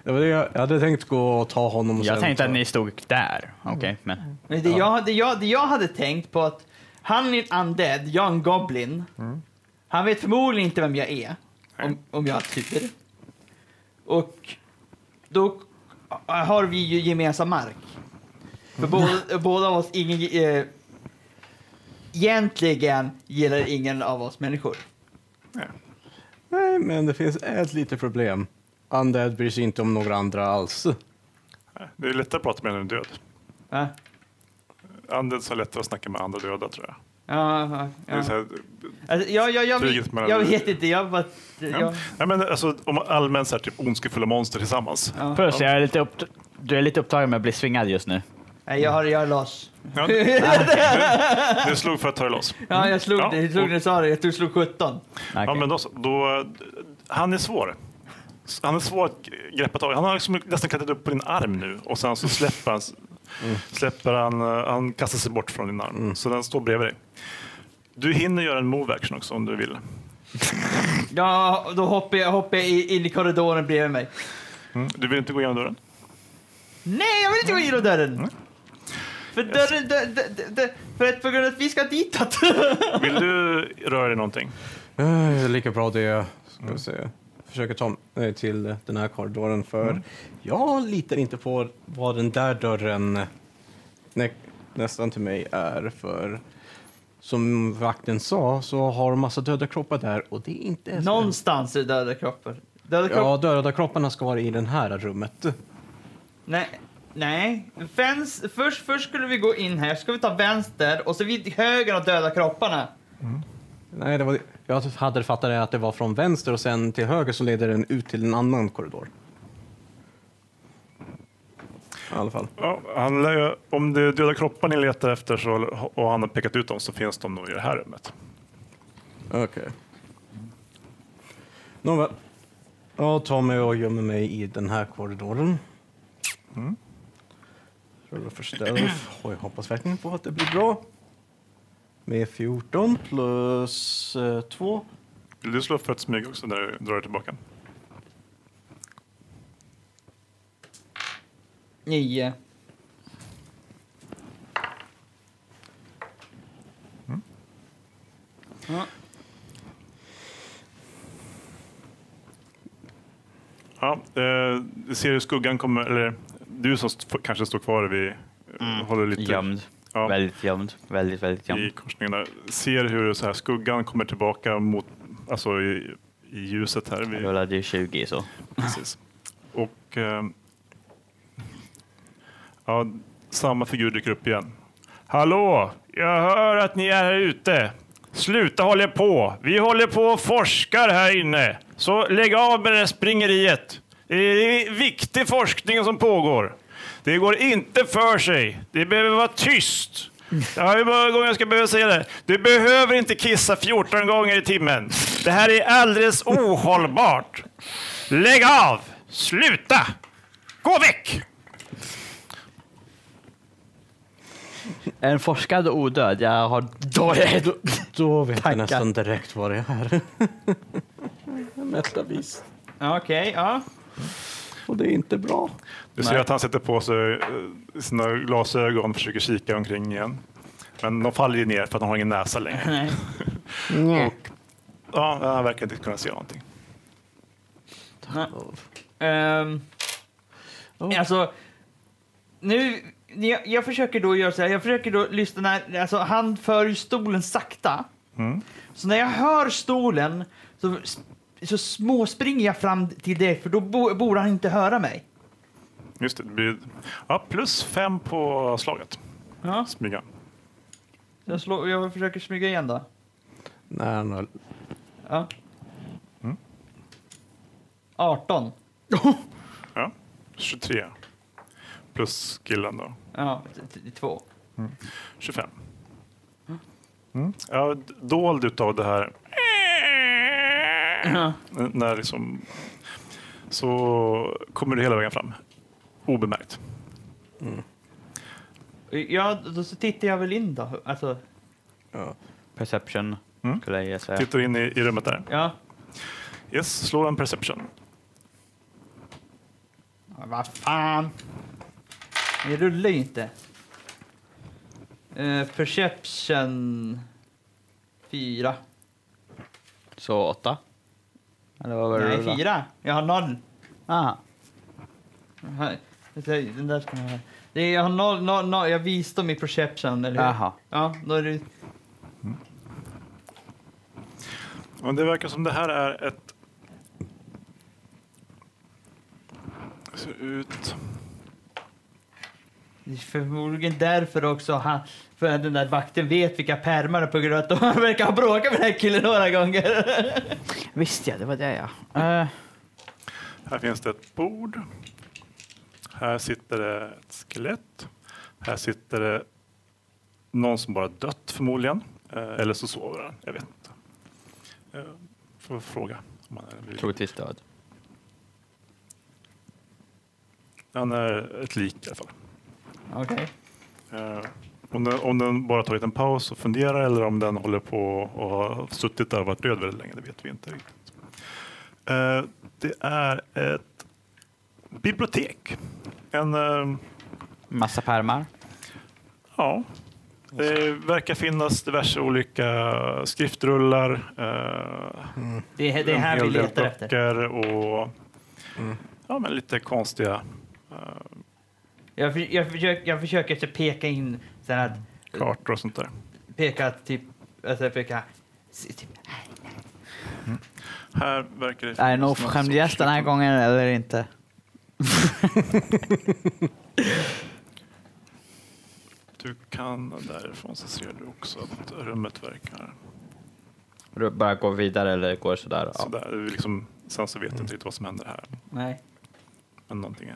B: Det var det jag, jag hade tänkt gå och ta honom och
F: Jag
B: sen
F: tänkte
B: ta-
F: att ni stod där. Okej, men...
A: Men det, jag, det, jag, det jag hade tänkt på att han är en undead, jag är en goblin.
C: Mm.
A: Han vet förmodligen inte vem jag är, om, om jag har tur. Och då har vi ju gemensam mark.
C: Mm.
A: För båda, båda av oss, ingen... Eh, egentligen gillar ingen av oss människor.
B: Nej, men det finns ett litet problem. Undead bryr sig inte om några andra alls.
C: Det är lättare att prata med en än död.
A: Va?
C: Andens har lättare att snacka med andra döda, tror jag.
A: Ja, ja,
C: Det är
A: ja.
C: så här,
A: Alltså, jag, jag, jag,
C: Kriget
A: jag,
C: mellan-
A: jag vet inte, jag bara...
C: ja.
A: Jag,
C: Nej, men alltså, om allmänt så här, typ, ondskefulla monster tillsammans.
F: Plus, jag är lite upp... Du är lite upptagen med att bli svingad just nu.
A: nej, jag har jag är loss.
C: Ja. Du slog för att ta dig loss.
A: Ja, jag slog
C: Ja,
A: det. Jag slog
C: och-
A: när du sa det. Jag tror jag slog 17.
F: Okej.
C: Ja, men då, så. då, han är svår. Han är svår att greppa tag i. Han har liksom nästan klättrat upp på din arm nu och sen
A: Mm.
C: så släpper han, släpper han, eh, han kastar sig bort från din arm.
A: Mm.
C: Så den står bredvid dig. Du hinner göra en move action också om du vill.
A: Ja, då hoppar jag, hoppar jag i- in i korridoren bredvid mig. Mm.
C: Du vill inte gå igenom dörren?
A: Nej, jag vill inte gå igenom
C: Mm.
A: dörren! För dörren... Dör, dör, dör, dör, för att på grund av att vi ska ditåt.
C: Vill du röra dig någonting?
B: Eh, lika bra det. Ska vi se. Försöker ta mig till eh, den här korridoren för jag litar inte på vad den där dörren nä nästan till mig är för som vakten sa så har de massa döda kroppar där och det är inte...
A: Någonstans är döda kroppar. Döda kroppar?
B: Ja, döda kropparna ska vara i det här rummet.
A: Nej. Nej. Fens, först, först skulle vi gå in här, ska vi ta vänster och så vid höger och döda kropparna.
B: Nej, det var, jag hade fattat det att det var från vänster och sen till höger så leder den ut till en annan korridor. I alla fall.
C: Ja, han lär ju, om det är döda kroppar ni letar efter så, och han har pekat ut dem så finns de nog i det här rummet.
B: Okej. Nåväl. Jag tar mig och gömmer mig i den här korridoren. Rullar för stealth. Och jag hoppas verkligen på att det blir bra. Med 14 plus eh, 2.
C: Vill du slå för att smyga också när du drar dig tillbaka?
A: Nio. Ja.
C: Ja, eh, du ser hur skuggan kommer, eller du som st- kanske står kvar vid, håller lite
F: Gömd.
C: Ja.
F: Väldigt gömd. Väldigt, väldigt
C: i
F: gömd.
C: korsningen där, ser hur så här, skuggan kommer tillbaka mot, alltså i, i ljuset här.
F: Jag
C: Vid,
F: rullade ju 20 så.
C: precis. Och eh, ja, samma figur dyker upp igen. Hallå, jag hör att ni är här ute. Sluta hålla på. Vi håller på och forskar här inne. Så lägg av med det där springeriet. Det är viktig forskning som pågår. Det går inte för sig. Det behöver vara tyst. Det har ju många gånger jag ska behöva säga det. Du behöver inte kissa 14 gånger i timmen. Det här är alldeles ohållbart. Lägg av! Sluta! Gå väck!
F: En forskad odöd. Jag har dåligt...
B: Då vet jag nästan direkt vad det är. Mättarvis.
A: Ja, Okej, ja.
B: Och det är inte bra.
C: Du ser att han sätter på sig eh, sina glasögon och försöker kika omkring igen. Men de faller ju ner för att de har ingen näsa längre.
A: Nej.
C: Ja, han verkar inte kunna se någonting.
A: Ehm,
B: Oh.
A: Alltså, nu... Jag, jag försöker då göra så här, jag försöker då lyssna när, alltså han för ju stolen sakta. Så när jag hör stolen så, så småspringer jag fram till dig för då bo, borde han inte höra mig.
C: Just det, det blir ja, plus fem på slaget.
A: Ja.
C: Smyga.
A: Jag, slår, jag försöker smyga igen då.
B: Nej, han har-
A: Ja. 18.
C: Ja, 23. plus killen då.
A: Ja, t- t- två.
C: 25. Mm. Ja, d- dold utav det här. N- När liksom, så kommer du hela vägen fram. Obemärkt.
A: Ja, då så tittar jag väl in då. Alltså,
F: Perception
C: Mm.
F: skulle jag säga.
C: Tittar in i, i rummet där.
A: ja.
C: Yes, slå en perception.
A: Vad fan! Det rullar ju inte. Eh, perception... Fyra.
F: Så åtta? Eller vad var det?
A: Nej,
F: du la?
A: fyra. Jag har noll.
F: Ah,
A: Här. Den där ska man ha. Det är- Jag har noll, noll, noll. Jag visste om i perception, eller hur?
F: jaha.
A: Ja, då är det...
C: Ja, det verkar som det här är ett... Det ser ut...
A: det är Förmodligen därför också han, för att den där vakten vet vilka pärmar det är på grund av att de verkar ha bråkat med den här killen några gånger.
F: Visst ja, det var det ja. Eh,
C: Här finns det ett bord. Här sitter det ett skelett. Här sitter det någon som bara dött förmodligen. Eh, Eller så sover han, jag vet inte. Eh, Får fråga. om han är vid-
F: troligtvis död.
C: Han är ett lik i alla fall.
A: Okej.
C: Eh, Om den, om den bara tagit en paus och funderar eller om den håller på och har suttit där och varit död väldigt länge, det vet vi inte riktigt. Eh, Det är ett bibliotek. En... eh,
F: Massa pärmar.
C: Ja. Det verkar finnas diverse olika skriftrullar. eh,
A: Det, är- Mm. det är
C: en
A: här
C: hel
A: vi
C: del
A: letar efter.
C: böcker och ja, men lite konstiga
A: Jag, för, jag, försöker, jag försöker så peka in sen att
C: kartor och sånt där.
A: peka att typ, alltså peka s- typ,
C: Här verkar
F: Är
C: det
F: det
C: finnas
F: någon
C: någon
F: oförskämd
C: sorts-
F: gäst den här gången eller inte?
C: Du kan därifrån så ser du också att rummet verkar
F: Du bara går vidare eller går sådär? Ja.
C: sådär. Det är Liksom, sen så vet
A: Mm.
C: jag inte riktigt vad som händer här.
A: nej.
C: Men någonting är.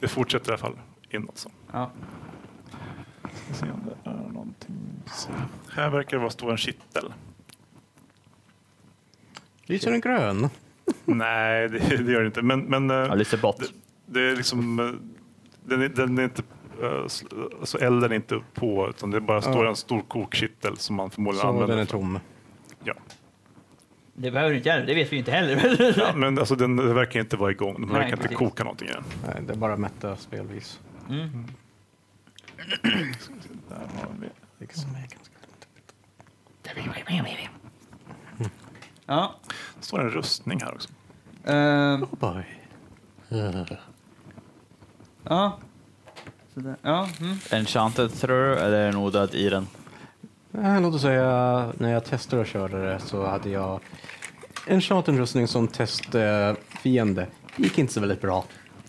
C: Det fortsätter i alla fall inåt. Så.
A: Ja.
C: Ska se om det är någonting. Så. Här verkar det vara stå en kittel.
B: Lyser den grön?
C: Nej, det, det gör det inte. Men, men eh,
F: Ja, lite bort.
C: det, det är liksom, eh, den, är, den är inte, eh, sl- alltså elden är inte på, utan det bara står en stor kokkittel som man förmodligen
B: Så
C: använder.
B: den är
C: för-
B: tom.
C: Ja.
A: Det behöver du inte göra, det vet vi ju inte heller.
C: ja, men alltså den, den verkar inte vara igång. Den
A: Nej,
C: verkar inte
A: precis.
C: koka någonting än.
B: Nej, det är bara mätta spelvis.
C: Där har vi.
B: Liksom är ganska
A: ja.
C: Det står en rustning här också.
A: Ehm,
B: Boy. Eh.
A: ja. Sådär. Ja. Mm.
F: Enchanted tror du, eller är den odöd i den?
B: Eh, Låt oss säga, när jag testade och körde det så hade jag en chartenrustning som testfiende. Gick inte så väldigt bra.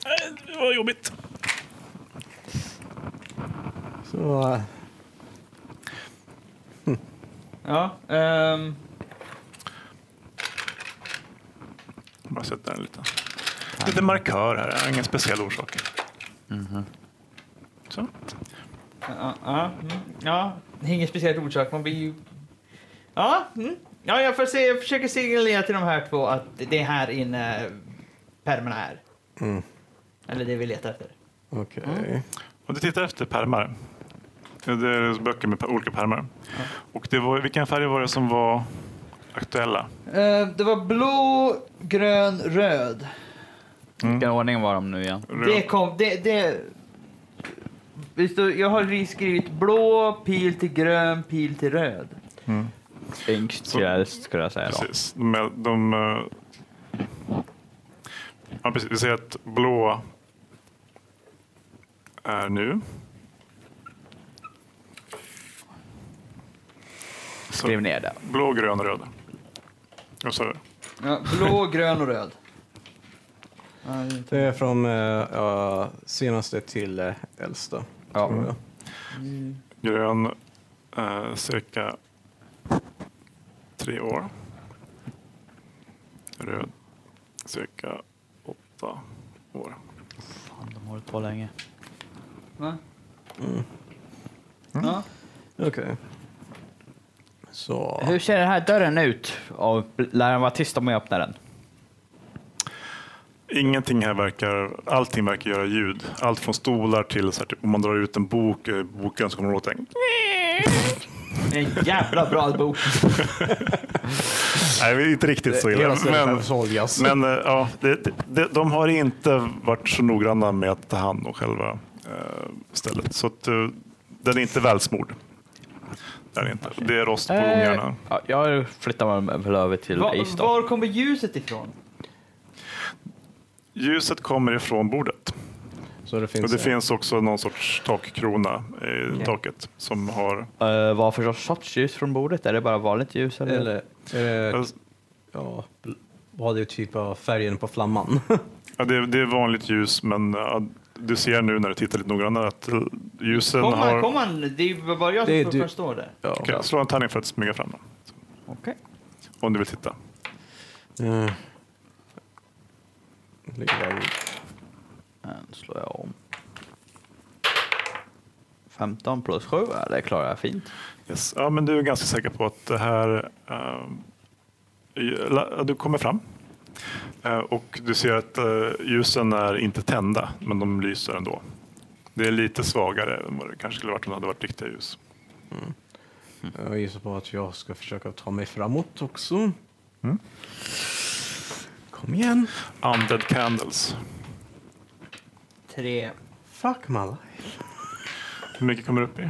C: Nej, det var jobbigt.
B: Så eh,
A: ja. ehm,
C: Jag har Bara sätta en liten, lite markör här. Det är Ingen speciell orsak.
F: Mhm.
C: Så.
A: ja, ja, mm. ja. Det är ingen speciell orsak, man blir ju... Ja. Mm. Ja, jag, får se, jag försöker signalera till de här två att det är här inne pärmarna är.
B: Mm.
A: Eller det vi letar efter.
B: Okej.
C: Mm. Om du tittar efter pärmar. Det är böcker med olika pärmar. Och det var, vilken färg var det som var aktuella?
A: Eh, det var blå, grön, röd.
C: Mm.
F: Vilken ordning var de nu igen?
A: Det kom... Det, det... Visst, Jag har skrivit blå pil till grön, pil till röd.
F: Yngst
C: Så-
F: gräls skulle jag säga då.
C: Precis. De, är- de, eh, ja, precis. Vi ser att blå är nu. Så
F: Skriv ner det.
C: blå, grön, röd. Och så,
A: Ja, blå, grön och röd. Ja, det är inte-
B: Det är från eh, ja, senaste till eh, äldsta.
F: Ja.
B: tror jag.
C: grön eh, cirka tre år. Röd cirka åtta år.
F: Fan, de har hållit på länge.
A: Va?
C: Mm.
A: Ja.
B: Okej. Så.
F: Hur ser den här dörren ut? Och lär den vara tyst om jag öppnar den?
C: Ingenting här verkar, allting verkar göra ljud. Allt från stolar till så här, typ, om man drar ut en bok ur boken så kommer det låta en...
A: En jävla bra bok.
C: Nej, det är inte riktigt så illa.
B: Hela stället
C: Men,
B: behöver såljas.
C: men eh, ja, det, det, de har inte varit så noggranna med att ta hand om själva eh, stället. Så att, eh, den är inte välsmord. Det är, den inte. Det är rost på ungarna.
F: Eh, ja, jag flyttar mig väl över till
A: Va,
F: Ace då.
A: var kommer ljuset ifrån?
C: Ljuset kommer ifrån bordet.
B: Så det
C: Och
B: finns,
C: det finns också någon sorts takkrona i taket som har...
F: Eh, vad för sorts ljus från bordet? Är det bara vanligt ljus? Eller?
B: Eller, är
C: Alltså,
B: det, ja, bl- vad är typ av färgen på flamman?
C: Ja, det, är- det är vanligt ljus, men ja, du ser nu när du tittar lite noggrannare att eh, ljusen
A: Kom
C: har...
A: han, kom han. Det är bara jag
B: Det är
A: som
B: du.
A: du... förstår det.
B: ja.
C: Okej, slå en tärning för att smyga fram den.
F: Okej.
C: Om du vill titta.
B: Eh. Ligger där i-
F: Den slår jag om. 15 plus 7, ja, det klarar jag fint.
C: Yes. Ja, men du är ganska säker på att det här... eh, la- du kommer fram. Eh, och du ser att eh, ljusen är inte tända, men de lyser ändå. Det är lite svagare än vad det kanske skulle varit om det hade varit riktiga ljus.
B: Jag gissar på att jag ska försöka ta mig framåt också. Mm. Kom igen.
C: Undead candles.
A: Tre.
B: Fuck my life.
C: Hur mycket kommer du upp i?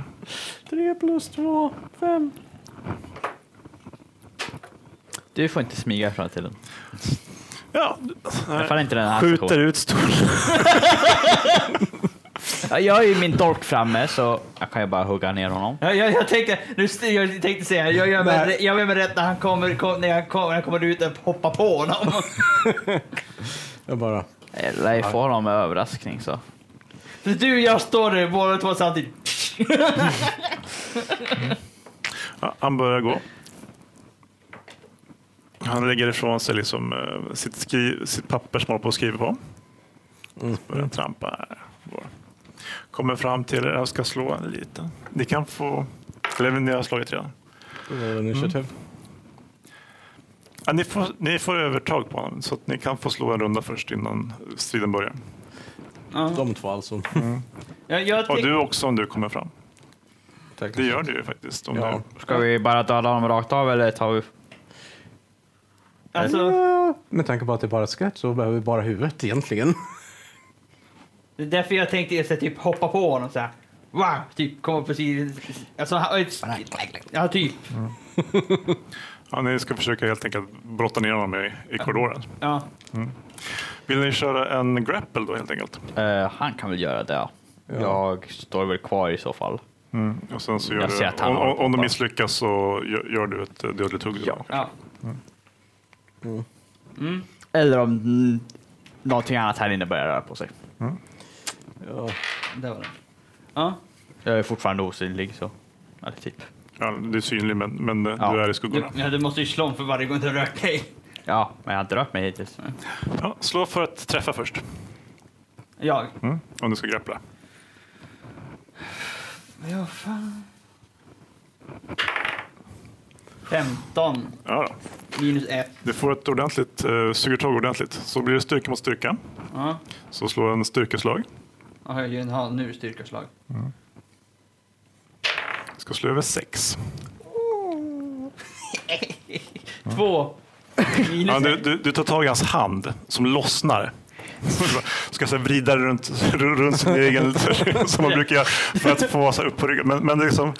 B: 3 plus 2, 5.
F: Du får inte smyga i framtiden.
C: Ja,
F: I alla fall inte den här
C: skjuter
F: sessionen.
C: ut stolen.
F: Ja, Jag har ju min dolk framme så jag kan ju bara hugga ner honom.
A: Ja, jag, jag, tänkte, nu, st- jag tänkte säga, jag gör mig, rä- jag gör mig rätt när han kommer, kom, när han kommer, när han kommer ut och hoppar på honom.
B: Jag bara...
F: Jag lär ju få honom med överraskning så.
A: För du och jag står där båda två samtidigt.
C: Ja, han börjar gå. Han lägger ifrån sig liksom, eh, sitt, skri- sitt papper som han håller på och skriver på. Så börjar han trampa. här. Går. Kommer fram till er. Jag ska slå en liten. Ni kan få... Eller ni har slagit redan.
B: Initiativ.
C: Ja, ni, får, ni får övertag på honom så att ni kan få slå en runda först innan striden börjar.
B: De två alltså.
A: Ja, jag
C: Och
A: tänk-
C: du också om du kommer fram.
B: Tack.
C: Det gör du ju faktiskt. Om
B: Ja.
F: Ska vi bara döda honom rakt av eller tar vi...
A: alltså,
B: Med tanke på att det är bara ett skratt så behöver vi bara huvudet egentligen.
A: det är därför jag tänkte jag ska typ hoppa på honom så här. Wow, typ komma precis... Alltså, han, ja, typ.
C: du, ja, ni ska försöka helt enkelt brotta ner honom i, i korridoren.
A: Ja.
C: Vill ni köra en grapple då helt enkelt?
F: Eh, han kan väl göra det. Jag står väl kvar i så fall.
C: Och sen så gör
F: Jag ser att
C: du,
F: han
C: om,
F: håller
C: om,
F: på
C: om de
F: bara.
C: misslyckas så gör, gör du ett eh, dödligt hugg. Ja.
A: ja.
F: Eller om mm, någonting annat här inne börjar röra på sig.
B: Ja.
A: Där var den. Ja.
F: Jag är fortfarande osynlig så. Eller typ.
C: Ja, du är synlig men, men eh,
F: Ja.
C: du är i skuggorna.
A: Du, ja, du måste ju slå om för varje gång du rör dig.
F: Ja, men jag har inte rört mig hittills.
C: Ja, slå för att träffa först.
A: Jag.
C: Mm. Om du ska grappla.
A: Ja, fan. 15
C: Ja, då.
A: minus 1.
C: Du får ett ordentligt, uh, suger tag ordentligt. Så blir det styrka mot styrka.
A: Ja.
C: Så slå en styrkeslag.
A: Ja, jag gör en halv nu styrkaslag.
C: Ska slå över sex.
A: Två. Minus
C: Ja, du,
A: ett.
C: du, du tar tag i hans hand som lossnar. Ska så här vrida runt, runt sin egen, som man brukar göra för att få så här upp på ryggen. Men, men det, är liksom,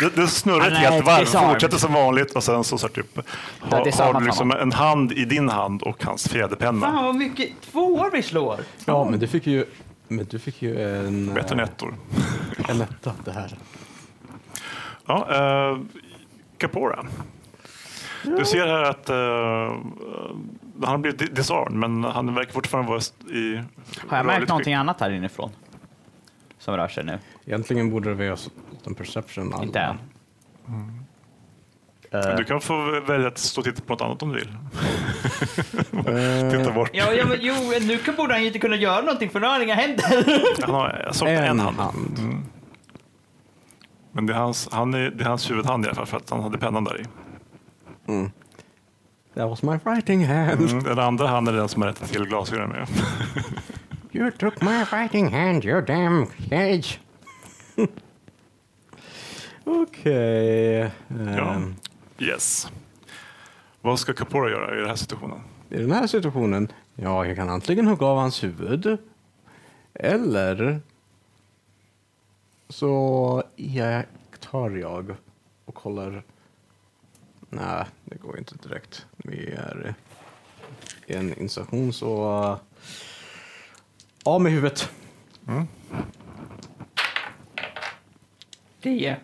C: det, det snurrar ett
F: Han är
C: helt varv,
F: disarmed.
C: fortsätter som vanligt och sen så, så här, typ,
F: Ja,
C: ha,
F: disarmat
C: har du liksom en hand i din hand och hans fjäderpenna.
A: Fan vad mycket tvåor vi slår.
B: ja, men du fick ju... Men du fick ju en...
C: Bättre än ettor.
B: eh, En etta det här.
C: Ja, eh, Capora. Du ser här att eh, eh, han har blivit di- disarmed, men han verkar fortfarande vara i...
F: Har jag märkt
C: rörligt
F: någonting annat här inifrån? Som rör sig nu?
B: Egentligen borde det vara en perception. alla.
F: Inte än. Eh,
C: Du kan få välja att stå och titta på något annat om du vill.
B: Eh,
C: Titta bort.
A: Ja, ja men jo, nu kan- borde han ju inte kunna göra någonting för nu har inga händer.
C: Han har saknar en, hand. Mm. Men det är, hans, han är, det är hans huvudhand i alla fall för att han hade pennan där i.
B: That was my writing hand.
C: Den andra handen är den som har rättat till glasögonen med.
B: You took my writing hand, you damn cage. Okej. ehm,
C: Ja. Yes. Vad ska Capora göra i den här situationen?
B: I den här situationen, ja, jag kan antingen hugga av hans huvud eller så iakttar jag och kollar. Nej, det går ju inte direkt. Vi är i en installation så eh, av med huvudet.
A: Det är.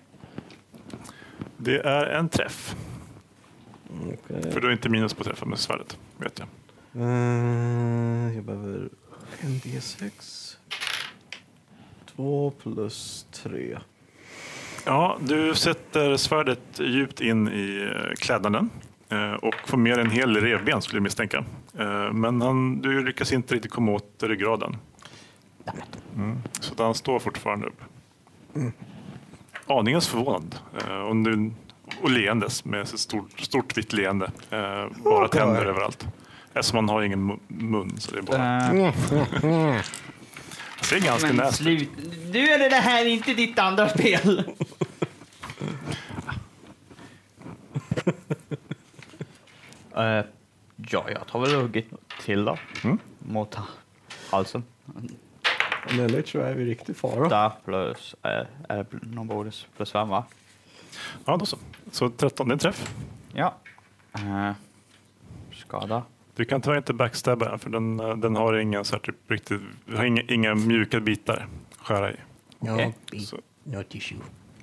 C: Det är en träff.
B: Okej.
C: För du har inte minus på träffen med svärdet, vet jag.
B: Eh, jag behöver en D6. Två plus tre.
C: Ja, du sätter svärdet djupt in i eh, klädnaden eh, och får med en hel revben skulle jag misstänka. Eh, Men han, du lyckas inte riktigt komma åt ryggraden. Mm. Så att han står fortfarande upp. Aningens förvånad eh, och, nu, och leendes med sitt stort, stort vitt leende. Eh, Bara tänder överallt. Eftersom han har ingen mu- mun så det är bara...
F: eh,
C: Han ser ganska
A: Men
C: näst
A: slut. Nu är det det här inte ditt andra spel.
F: eh, ja, jag tar väl hugget till då. Mot ha- halsen.
B: Om det är lätt så är vi riktigt fara.
F: Där plus, eh, eh, någon bonus plus fem va?
C: Ja, då så. Så 13, det är en träff.
F: Ja. Eh, skada.
C: Du kan tyvärr inte backstabba den för den, eh, den har inga, så här, typ, riktigt, har inga, inga mjuka bitar att skära i.
F: Okej.
C: Så,
B: No tissue.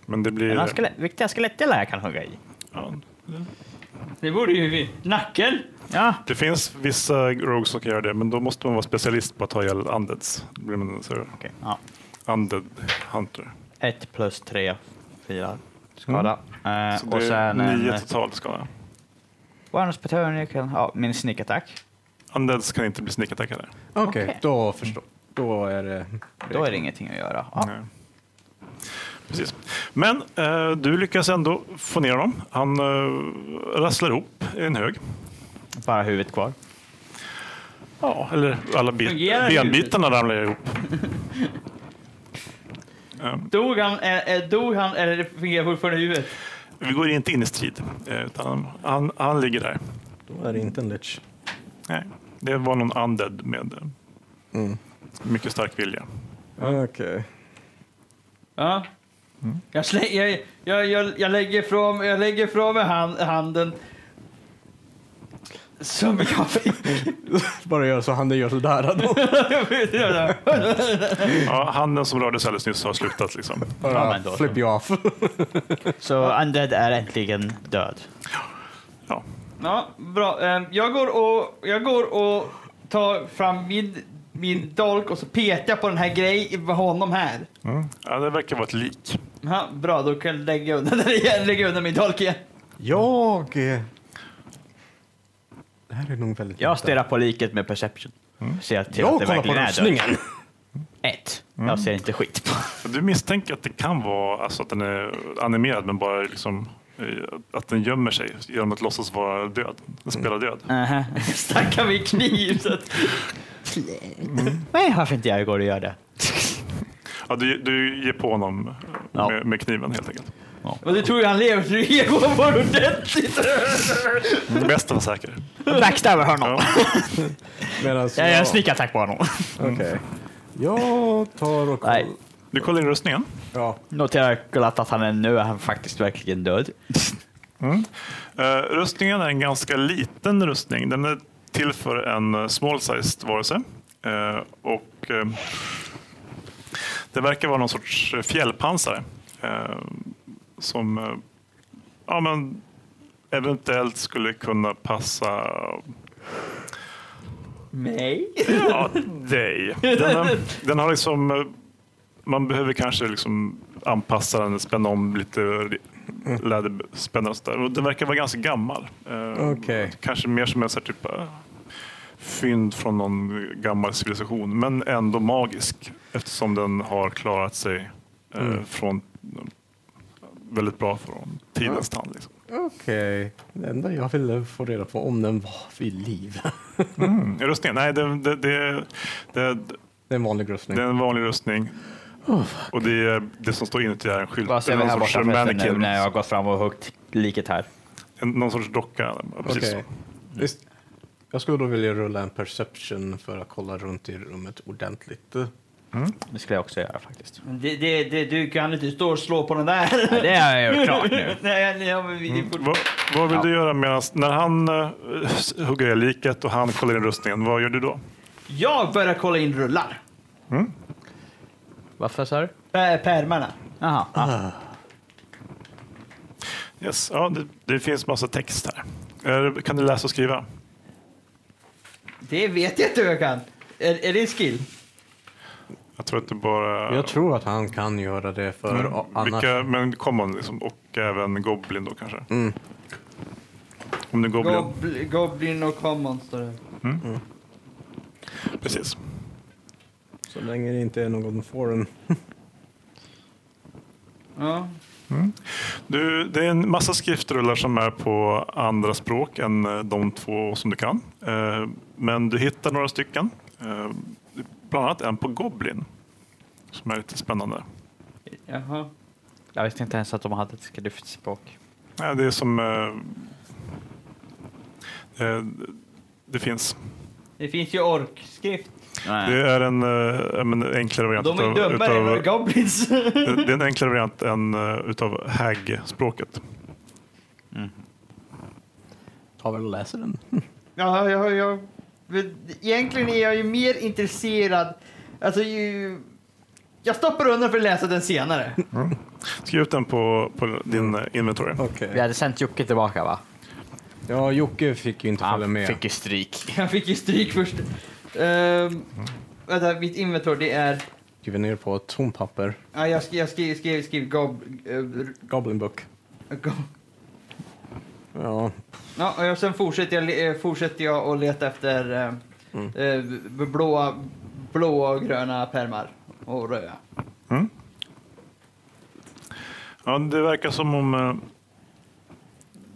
C: men det
F: Men
C: blir...
F: han skele- viktiga skelettdelar jag kan hugga i.
C: Ja,
A: Det borde ju vi. Nacken.
F: Ja,
C: det finns vissa rogues som kan göra det men då måste man vara specialist på att ta ihjäl undeads. Då blir man en så här
F: okej. Ja.
C: undead hunter.
F: Ett plus tre, fyra skada. Eh,
C: Mm. Så
F: och
C: det är
F: sen
C: nio
F: en
C: totalt skada.
F: bonus på turn, jag kan- ja, min sneakattack.
C: Undeads kan inte bli snickattackade.
B: Okej,
F: Okej.
B: då förstår. Då är det...
F: Då är det ingenting att göra. Ja.
C: Nej. Precis. Men eh, du lyckas ändå få ner honom. Han eh, rasslar ihop i en hög.
F: Bara huvudet kvar.
C: Ja, eller alla bit,
A: Fungerar det?
C: benbitarna ramlar ihop.
A: Dog han, eh, eh, dog han eller det fungerar fortfarande i huvudet?
C: Vi går inte in i strid, eh, utan han, han, han ligger där.
B: Då är det inte en lich.
C: Nej, det var någon undead med eh, mycket stark vilja.
B: Okej.
A: Ja. Jag, slä, jag, jag, jag, jag lägger ifrån jag lägger ifrån mig hand, handen. Som jag fick.
B: Bara gör så han gör sådär. då.
C: Ja, handen som rörde sig alldeles nyss har slutat. Liksom.
F: Ja,
B: Bara
F: men då så.
B: flip you off.
F: Så Undead är äntligen död.
C: Ja.
A: Ja, bra. Ehm, Jag går och, jag går och tar fram min, min dolk och så petar jag på den här grejen med honom här.
C: Ja, det verkar vara ett lik.
A: Ja, bra, då kan jag lägga undan den igen. Lägga undan min dolk igen.
B: jag... eh, Det här är nog väldigt...
F: Jag stirrar på liket med perception. Ser till att
B: Jag
F: det
B: kollar på
F: verkligen är död.
B: rustningen.
F: Ett. Jag ser inte skit på.
C: Du misstänker att det kan vara alltså, att den är animerad, men bara liksom, eh, att den gömmer sig genom att låtsas vara död. Den spelar död.
A: Stackar min kniv. Så att,
F: Nej, varför inte jag går och gör det?
C: Ja, du, du ger på honom eh,
F: Ja.
C: med, med kniven helt enkelt.
A: och du tror ju han lever så du ger honom bara ordentligt.
C: Det bästa var säker.
F: Backstabbar honom.
C: Ja.
B: Medan
F: Jag gör en sneakattack på honom.
B: Okej. Jag tar och...
F: Nej.
C: Du kollar in rustningen.
B: Ja.
F: Noterar glatt att han är nu är han faktiskt verkligen död.
C: Eh, rustningen är en ganska liten rustning. Den är till för en eh, small sized varelse. Eh, och, eh, det verkar vara någon sorts eh, fjällpansare. eh, som eh, ja, men eventuellt skulle kunna passa
A: Nej.
C: ja, dig. Den, har- den har liksom... eh, Man behöver kanske liksom anpassa den, spänna om lite läderspännare och sådär. Och den verkar vara ganska gammal. Eh,
B: Okej.
C: Kanske mer som en sån här typ eh, fynd från någon gammal civilisation, men ändå magisk eftersom den har klarat sig eh, från väldigt bra från tidens tand. Liksom.
B: Okej. Det enda jag ville få reda på om den var vid liv.
C: Mm. Rustningen? Nej, det, det, det, det,
B: Det är en vanlig rustning.
C: det är en vanlig rustning. och det, är, det som står inuti är en skylt.
F: Vad ser
C: Det
F: vi
C: är
F: här
C: någon
F: borta
C: sorts
F: förresten nu
C: mannequin.
F: när jag har gått fram och huggit liket här?
C: En- Någon sorts docka. Ja, Precis
B: Okej. Visst. Jag skulle då vilja rulla en perception för att kolla runt i rummet ordentligt.
F: Det skulle jag också göra faktiskt.
A: Det, det, det, du kan inte stå och slå på den där.
F: Ja, det har jag gjort klart nu.
A: Nej, nej, ja, men vi, mm.
C: Vad, vad vill du göra medan, när han eh, s- hugger i liket och han kollar in rustningen, vad gör du då?
A: Jag börjar kolla in rullar.
F: Varför sa du?
A: Äh, pärmarna.
F: Jaha. ja.
C: Yes, ja, det, det finns massa text här. Eh, Kan du läsa och skriva?
A: Det vet jag inte hur jag kan. Är, är det en skill?
C: Jag tror att det bara...
B: Jag tror att han kan göra det för
C: Mm,
B: a- annars...
C: Vilka, men common liksom, och även Goblin då kanske?
B: Mm.
C: Om det är Goblin.
A: Goblin, Goblin och Common står det.
C: Precis.
B: Så länge det inte är någon foreign.
A: Ja.
C: Du, det är en massa skriftrullar som är på andra språk än eh, de två som du kan. Eh, Men du hittar några stycken. Eh, Bland annat en på Goblin. Som är lite spännande.
A: Jaha.
F: Jag visste inte ens att de hade ett skriftspråk.
C: Ja, det är som... eh, eh, Det finns.
A: Det finns ju orkskrift.
F: Nej.
C: Det är en, eh, ja, men enklare variant.
A: De är ju
C: utav-
A: dummare än
C: utav-
A: vad goblins.
C: Det det är en enklare variant än eh, utav hag-språket.
B: Ta väl och läser den.
A: ja, ja, ja. Men Egentligen är jag ju mer intresserad. Alltså, ju... Jag stoppar undan för att läsa den senare.
C: Skriv ut den på, på din eh, inventory.
B: Okej.
F: Vi hade sänt Jocke tillbaka va?
B: Ja, Jocke fick ju inte följa med.
F: fick ju stryk.
A: Jag fick ju stryk först. Um, vänta, mitt inventor det är...
B: Skriver ner på ett tomt papper.
A: Ja, jag skrev, jag skrev, skrev, skrev gob... eh,
B: Goblin book.
A: gob
B: Ja,
A: ja, och jag- sen fortsätter jag, le- eh, fortsätter jag att leta efter eh, eh, b- blåa, blåa och gröna pärmar och röda.
C: Ja, det verkar som om eh,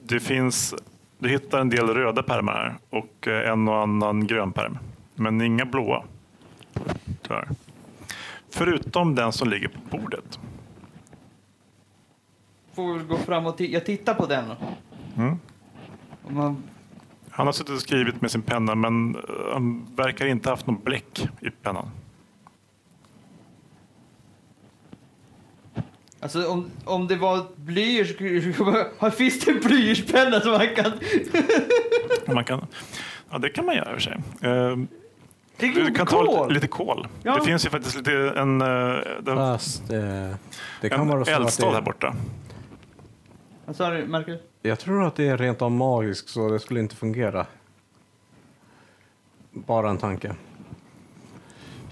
C: det finns... Du hittar en del röda pärmar här och eh, en och annan grön pärm. Men inga blåa. Tyvärr. Förutom den som ligger på bordet.
A: Får väl gå fram och ti- jag tittar på den.
C: Mm.
A: Om man,
C: Han har suttit och skrivit med sin penna men eh, han verkar inte ha haft någon bläck i pennan.
A: alltså om, om det var blyer skulle... Finns det en blyertspenna som man kan...
C: Man kan, ja, det kan man göra i och för sig. Eh,
A: Det är
C: Du
A: lite
C: kan ta
A: kol.
C: lite, lite kol.
A: Ja.
C: Det finns ju faktiskt lite en, eh, det-
B: fast eh, det kan
C: en
B: vara så att
C: eldstad här
B: det,
C: borta.
A: Vad sa du, Marcus?
B: Jag tror att det är rent av magiskt så det skulle inte fungera. Bara en tanke.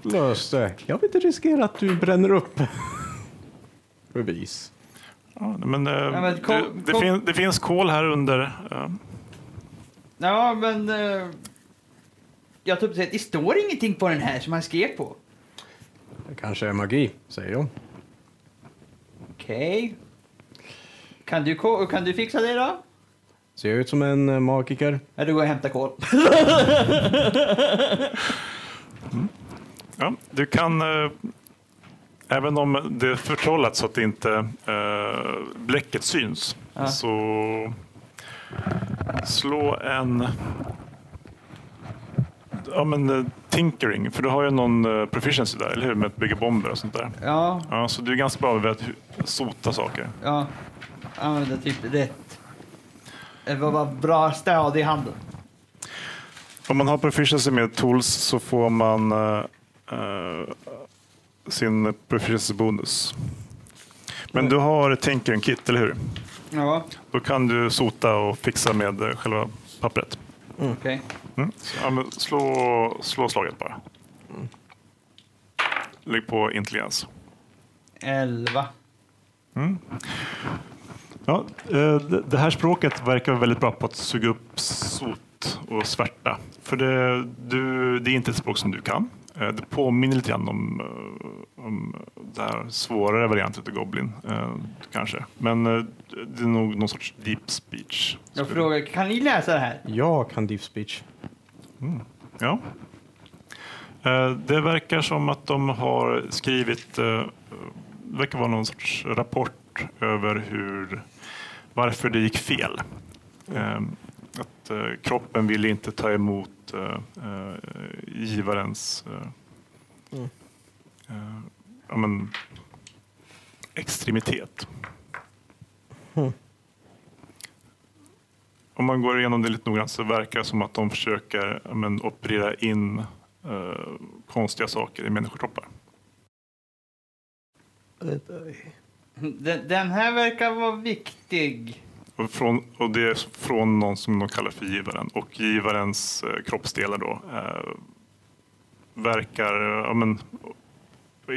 B: Lös det. Jag vill inte riskera att du bränner upp. Bevis.
C: Ja, men, eh,
A: men kol-
C: det, det,
A: kol-
C: fin, det finns kol här under. eh,
A: Ja, men... eh, jag typ säger, det står ingenting på den här som han skrev på.
B: Det kanske är magi, säger jag.
A: Okej. Kan, du, ko- kan du fixa det då?
B: Ser jag ut som en eh, magiker?
A: Ja, du går och hämtar kol.
C: ja, du kan, eh, även om det är förtrollat så att det inte eh, bläcket syns,
A: Ja.
C: så slå en ja, men, eh, tinkering. För du har ju någon eh, proficiency där, eller hur? Med att bygga bomber och sånt där.
A: Ja,
C: Ja, så du är ganska bra med att hu- sota saker.
A: ja. Använda typ rätt. Det var bara bra stadig hand.
C: Om man har proficiency med tools så får man eh, eh, sin proficiency bonus. Men du har Tinkering Kit, eller hur?
A: Ja,
C: Då kan du sota och fixa med eh, själva pappret.
A: okej.
C: Mm. Så, ja, men slå, slå slaget bara. Lägg på intelligens.
A: Elva.
C: Ja, eh, d- det här språket verkar vara väldigt bra på att suga upp sot och svärta. För det, du, det är inte ett språk som du kan. Eh, Det påminner lite grann om, eh, om den här svårare varianten av Goblin, eh, kanske. Men eh, det är nog någon sorts deep speech.
A: Jag frågar, kan ni läsa det här?
B: Jag kan deep speech.
C: Ja. Eh, Det verkar som att de har skrivit, eh, det verkar vara någon sorts rapport över hur, varför det gick fel. Eh, Att eh, kroppen ville inte ta emot eh, eh, givarens eh, eh, ja, men, extremitet. Om man går igenom det lite noggrant så verkar det som att de försöker ja, men, operera in eh, konstiga saker i människokroppar.
A: Den, den här verkar vara viktig.
C: Och, från, och det är från någon som de kallar för givaren. Och givarens eh, kroppsdelar då eh, verkar eh, ja, men,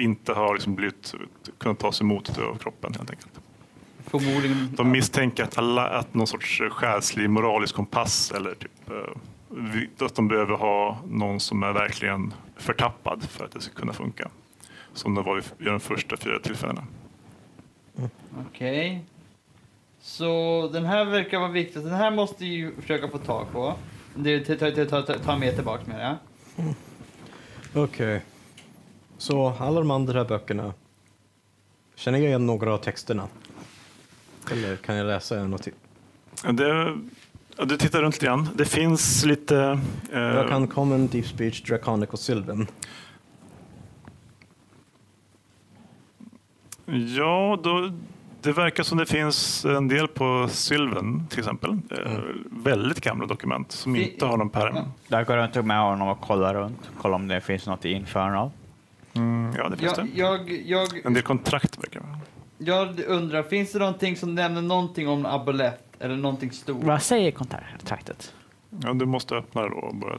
C: inte ha liksom blivit, kunnat tas emot av kroppen helt enkelt.
A: Förmodligen.
C: De misstänker att, alla, att någon sorts själslig moralisk kompass eller typ, eh, vi- att de behöver ha någon som är verkligen förtappad för att det ska kunna funka. Som det var vid- vid de första fyra tillfällena.
A: Okej. Så den här verkar vara viktig. Den här måste ju försöka få tag på. Det ta, ta, ta, ta, ta med tillbaka med det.
B: Okej. Så alla de andra böckerna. Känner jag igen några av texterna? Eller kan jag läsa en och till?
C: Ja, Det, ja, du tittar runt lite grann. Det finns lite... eh,
B: Jag kan common, deep speech, draconic och sylvan.
C: Ja, då, det verkar som det finns en del på Sylven till exempel. Eh, Väldigt gamla dokument som
A: Det-
C: inte har någon pärm.
F: Där går runt med honom och kollar runt. Kollar om det finns något i Inferno.
C: Mm, ja, det finns
A: Jag,
C: det.
A: jag, jag,
C: En del kontrakt verkar det vara.
A: jag undrar, finns det någonting som nämner någonting om abolett? Eller någonting stort?
F: Vad säger kontraktet?
C: Ja, du måste öppna det då. Och börja.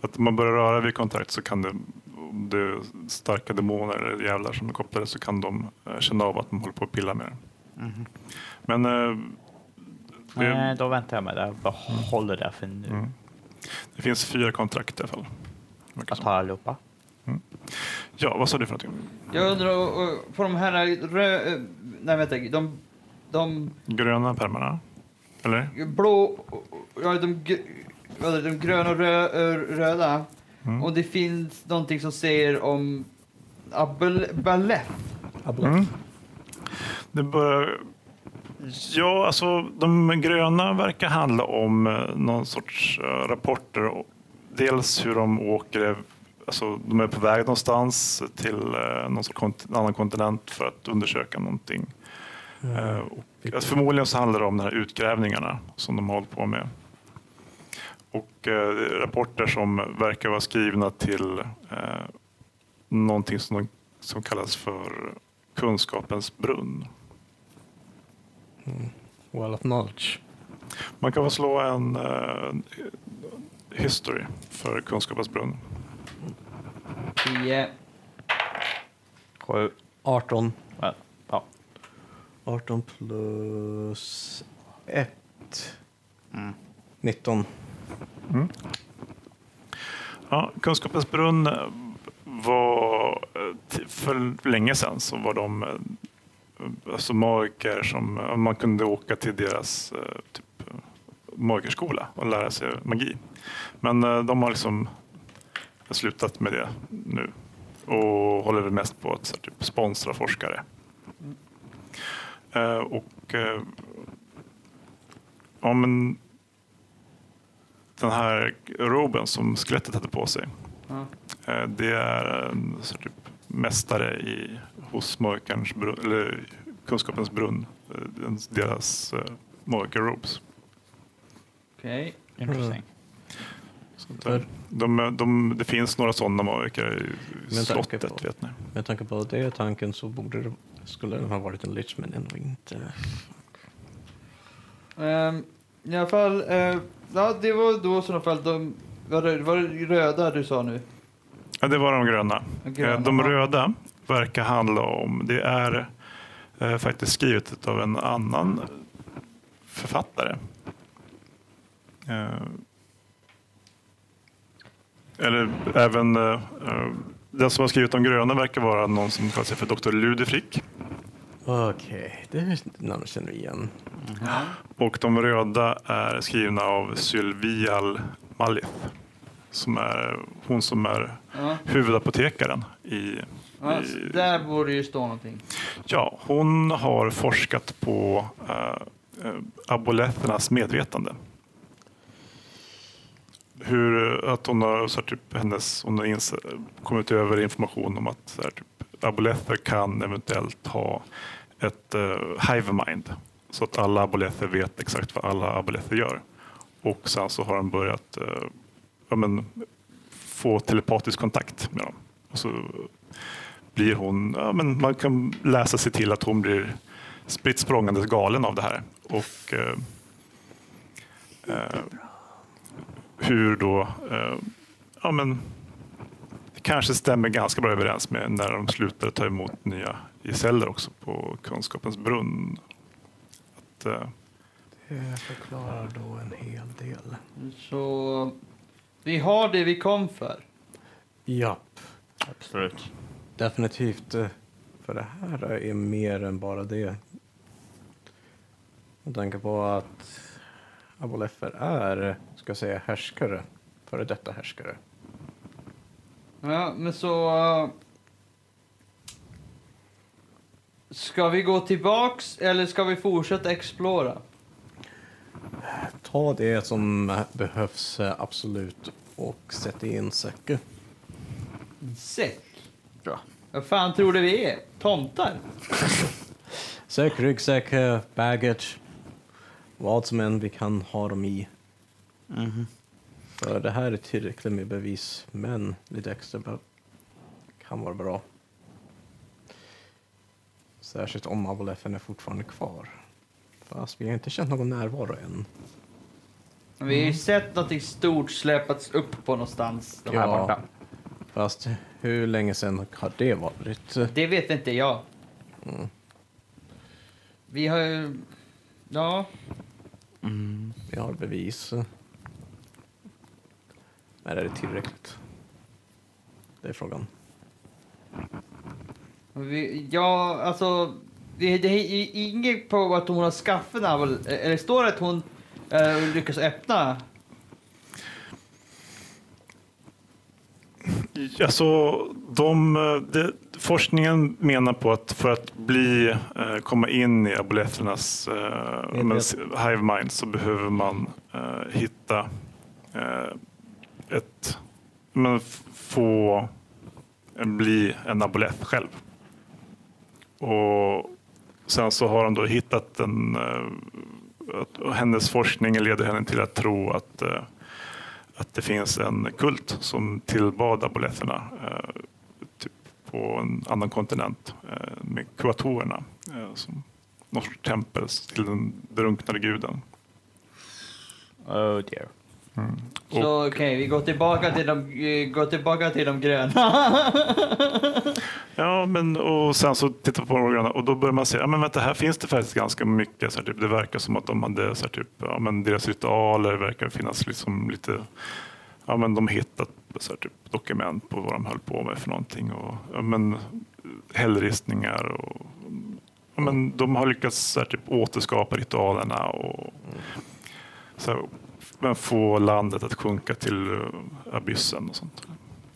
C: Att om man börjar röra vid kontakt så kan det, om det är starka demoner eller djävlar som är kopplade så kan de eh, känna av att man håller på att pilla med det. Men eh, det,
F: Eh, då väntar jag med det. Jag behåller det för nu.
C: Mm. det finns fyra kontrakt i alla fall. verkar
F: Jag
C: som.
F: tar allihopa.
C: Ja, vad sa du för någonting?
A: Jag undrar, och, och, på de här rö... eh, Nej vänta, de... De
C: Gröna pärmarna? Eller?
A: blå... Ja, de, gr- vad är det, de gröna och rö, ö, röda.
C: Mm.
A: Och det finns någonting som säger om abolett.
C: Mm. Det börjar... Ja, alltså de gröna verkar handla om eh, någon sorts eh, rapporter. och- Dels hur de åker, alltså de är på väg någonstans till eh, någon sorts kont- en annan kontinent för att undersöka någonting. Eh, och, alltså, förmodligen så handlar det om de här utgrävningarna som de har hållit på med. Och eh, rapporter som verkar vara skrivna till eh, någonting som, de, som kallas för kunskapens brunn.
B: Wall of knowledge.
C: Man kan väl slå en eh, history för kunskapens brunn.
A: 10.
F: Sju.
B: 18.
F: Ja, Ja.
B: 18 plus 1. Mm. 19.
C: Ja, kunskapens brunn eh, var eh, t- för länge sedan så var de eh, alltså magiker som eh, man kunde åka till deras eh, typ, eh, magikerskola och lära sig magi. Men eh, de har liksom slutat med det nu och håller väl mest på att så här, typ, sponsra forskare. Eh, och eh, ja, men den här roben som skelettet hade på sig.
A: Ja.
C: Eh, Det är en så typ mästare i, hos magikerns brunn, eller kunskapens brunn. eh, den- Deras eh, magikerrobes.
A: Okej.
F: Interesting.
C: Mm. Så att, eh, De, de, det finns några sådana magiker i
B: Men tack
C: slottet
B: på.
C: vet ni.
B: Med tanke på att det är tanken så borde det, skulle den ha varit en lich men ändå inte.
A: Ehm, I alla fall, eh, ja det var då i sådana fall de... Var det, var det röda du sa nu?
C: Ja, det var de gröna.
A: De gröna,
C: Eh, De
A: ja.
C: röda verkar handla om, det är eh, faktiskt skrivet av en annan författare. Eh, eller även eh, eh, den som har skrivit om gröna verkar vara någon som kallar sig för Dr. Ludefrick.
B: Okej, det namnet känner vi igen.
C: Och de röda är skrivna av Sylvial Malith. Som är hon som är
A: Ja.
C: huvudapotekaren i...
A: Ja, så
C: i
A: där borde ju stå någonting.
C: ja, hon har forskat på äh, aboletternas medvetande. Hur att hon har, så här, typ, hennes, hon har ins- kommit över information om att så här, typ, aboletter kan eventuellt ha ett eh, hive mind. Så att alla aboletter vet exakt vad alla aboletter gör. Och sen så har de börjat eh, ja, men, få telepatisk kontakt med dem. Och så blir hon, ja, men man kan läsa sig till att hon blir spritt språngandes galen av det här. Och eh, eh, hur då, eh, ja men det kanske stämmer ganska bra överens med när de slutar ta emot nya gesäller också på Kunskapens brunn. Att, eh,
B: Det förklarar då en hel del.
A: Så vi har det vi kom för.
B: Ja,
F: Absolut.
B: definitivt. eh, För det här är mer än bara det. Med tanke på att aboleffer är, ska jag säga, härskare. Före detta härskare.
A: Ja, men så... eh, Ska vi gå tillbaks eller ska vi fortsätta explora?
B: Ta det som behövs eh, absolut och sätt in säcken.
A: Säck. Vad fan tror du vi är? Tomtar?
B: Säck, ryggsäck, eh, baggage. Vad som än vi kan ha dem i. För det här är tillräckligt med bevis, men lite extra be- kan vara bra. Särskilt om Abolefen är fortfarande kvar. Fast vi har inte känt någon närvaro än.
A: Vi har ju sett något stort släpats upp på någonstans. De här
B: Ja.
A: borta.
B: Fast hur länge sedan har det varit?
A: Det vet inte jag. Vi har ju... Ja.
F: Mm.
B: Vi har bevis. Men är det tillräckligt? Det är frågan.
A: Vi, ja, alltså... Det, det är inget på att hon har skaffat den här, väl- Eller står det att hon eh, lyckas öppna?
C: Alltså, de, det, forskningen menar på att för att bli, eh, komma in i aboletternas eh, men, hive mind så behöver man eh, hitta eh, ett... Men, f- få eh, bli en abolett själv. Och sen så har de då hittat en... Eh, att, och hennes forskning leder henne till att tro att eh, att det finns en kult som tillbad aboletterna eh, typ på en annan kontinent eh, med kuatorerna eh, som någon sorts tempel till den drunknade guden.
F: Oh dear.
A: Så okej, vi går tillbaka till de, eh, går tillbaka till de gröna.
C: Ja, men och sen så tittar på de gröna och då börjar man se, ja men vänta här finns det faktiskt ganska mycket. Så här, typ, det verkar som att de hade så här, typ, ja, men deras ritualer verkar finnas liksom lite, ja men de hittat så här, typ, dokument på vad de höll på med för någonting och ja, men hällristningar och ja, men de har lyckats så här, typ, återskapa ritualerna och så här, men få landet att sjunka till eh, abyssen och sånt.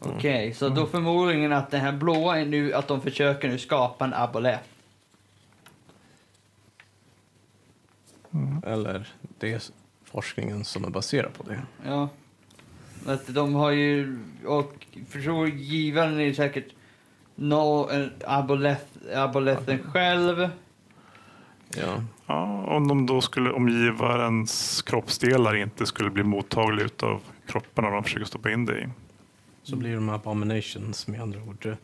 A: Okej, så då förmodligen att det här blåa är nu att de försöker nu skapa en abolett.
B: Mm. Eller det är forskningen som är baserad på det.
A: Ja. Att de har ju, och förstår givaren är ju säkert no, en aboleth, abolethen själv.
B: Ja.
C: Ja, om, de då skulle, om givarens kroppsdelar inte skulle bli mottagliga utav kropparna de försöker stoppa in det i.
B: Så blir de abominations med andra ord.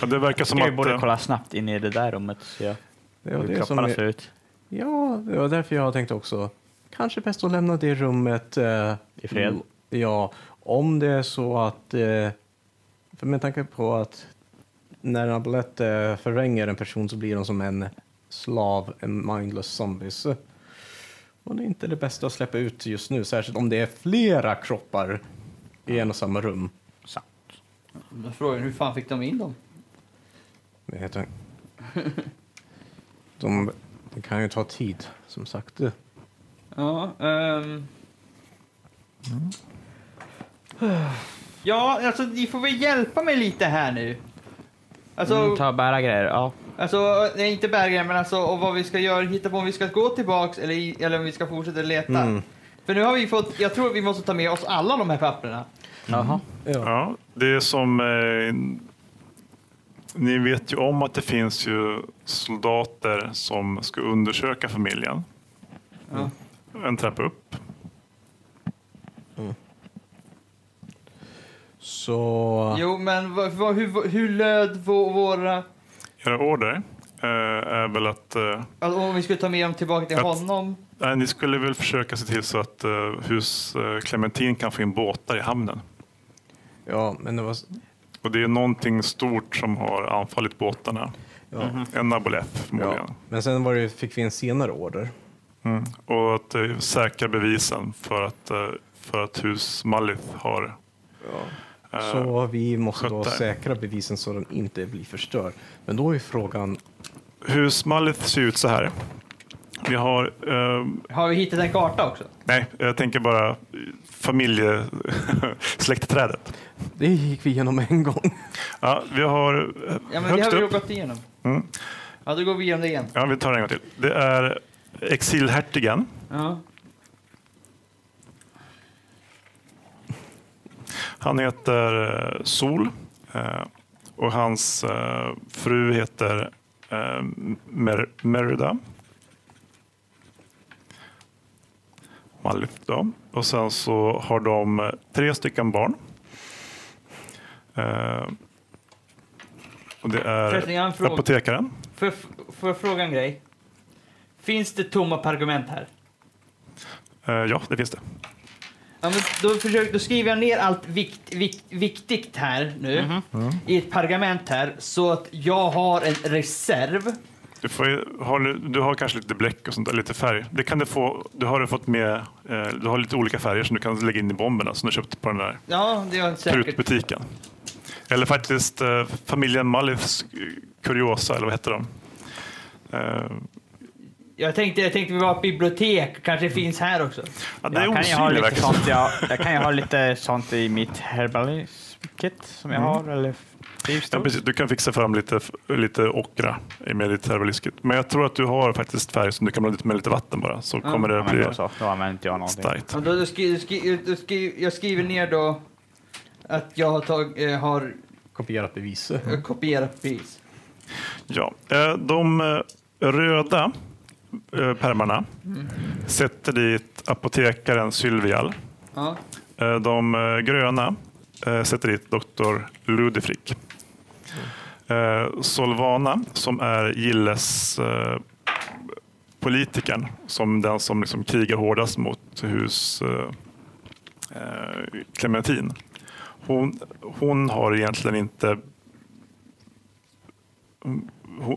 C: Ja, det verkar som
F: Jag vi
C: att...
F: borde
C: eh,
F: kolla snabbt in i det där rummet och se
B: Det var
F: hur
B: det som
F: kropparna ser
B: är,
F: ut.
B: ja, det var därför jag tänkte också. Kanske bäst att lämna det rummet. Eh,
F: I fred.
B: mm, Ja, om det är så att... Eh, för med tanke på att när en amulett eh, förvränger en person så blir de som en slav, en mindless zombies. Och det är inte det bästa att släppa ut just nu, särskilt om det är flera kroppar i en och samma rum.
F: Sant.
A: Då är frågan hur fan fick de in dem?
B: Det heter han. De, det kan ju ta tid, som sagt.
A: Ja, ehm. Ja, alltså ni får väl hjälpa mig lite här nu. Alltså,
F: Mm, ta och bära grejer. Ja.
A: alltså nej, inte bergen, men alltså och vad vi ska göra, hitta på om vi ska gå tillbaks eller, i- eller om vi ska fortsätta leta.
B: Mm.
A: För nu har vi fått, jag tror vi måste ta med oss alla de här papperna.
F: Jaha.
C: Ja, det är som... Eh, ni vet ju om att det finns ju soldater som ska undersöka familjen. Mm.
A: Ja.
C: En trappa upp.
B: Så...
A: Jo, men vad- vad- hur, hur löd vå- våra,
C: Era order eh, är väl att... Eh,
A: alltså, om vi skulle ta med dem tillbaka till
C: Att-
A: honom?
C: nej, ni skulle väl försöka se till så att eh, hus eh, Clementin kan få in båtar i hamnen.
B: Ja, men det var...
C: Och det är någonting stort som har anfallit båtarna.
B: Ja.
C: Mm-hmm. En abolett Mhm. förmodligen.
B: Ja. Men sen var det, fick vi en senare order.
C: Mm. Och att eh, säkra bevisen för att, eh, för att hus Malith har... eh,
B: Så vi måste då
C: sjutton.
B: säkra bevisen så den inte blir förstörd. Men då är frågan...
C: Hus Malith ser ut så här. Vi har... Eh,
A: Har vi hittat en karta också?
C: nej, jag tänker bara eh, familje... släktträdet.
B: Det gick vi igenom en gång.
C: Ja, vi har eh,
A: Ja, men det
C: högst
A: har vi
C: upp...
A: ju gått igenom.
C: Mm.
A: Ja, då går vi igenom det igen.
C: Ja, vi tar det en gång till. Det är exilhertigen.
A: Ja.
C: Han heter eh, Sol eh, och hans eh, fru heter eh, Mer- Merida. Malif då. Och sen så har de eh, tre stycken barn. Eh, och det
A: Förresten,
C: är
A: jag har en fråga.
C: apotekaren.
A: Får jag f- får jag fråga en grej? Finns det tomma pergament här?
C: Eh, ja, det finns det.
A: Ja, men då, försöker, då skriver jag ner allt vikt, vikt, viktigt här nu i ett pergament här så att jag har en reserv.
C: Du, får, ju- har, du- du har kanske lite bläck och sånt där, lite färg. Det kan du få. Du har du fått med. Eh, du har lite olika färger som du kan lägga in i bomberna som du köpte på den där
A: Ja, det är säkert.
C: Prutbutiken. Eller faktiskt eh, familjen Malifs eh, kuriosa, eller vad hette de? Eh,
A: Jag tänkte, jag tänkte vi var ett bibliotek, kanske finns här också.
C: ja, det är
F: Jag kan, ju ha
C: osynlig
F: lite
C: verksamhet.
F: sånt, jag, jag kan ju ha lite sånt i mitt herbalism-kit som jag har. Eller
C: Mm. Ja,
F: drivstol.
C: precis. Du kan fixa fram lite, lite ockra med ditt herbalisket. Men jag tror att du har faktiskt färg som du kan blanda ut med lite vatten bara, så kommer
F: Mm.
C: det
F: Ja,
C: att
F: men
C: bli
F: då så. Då använder inte jag någonting.
C: starkt.
A: Ja, då, då skri, då skri, då skri, jag skriver ner då att jag har, tag, eh, har
B: Kopierat beviset.
A: eh, kopierat pris.
C: Ja. Eh, de eh, röda eh, pärmarna sätter dit apotekaren Sylvial.
A: Ja.
C: Eh, De eh, gröna eh, sätter dit doktor Ludifrik. Eh, Solvana, som är Gilles eh, politikern, som den som liksom krigar hårdast mot hus eh, eh, Clementin. Hon, hon har egentligen inte... Hon,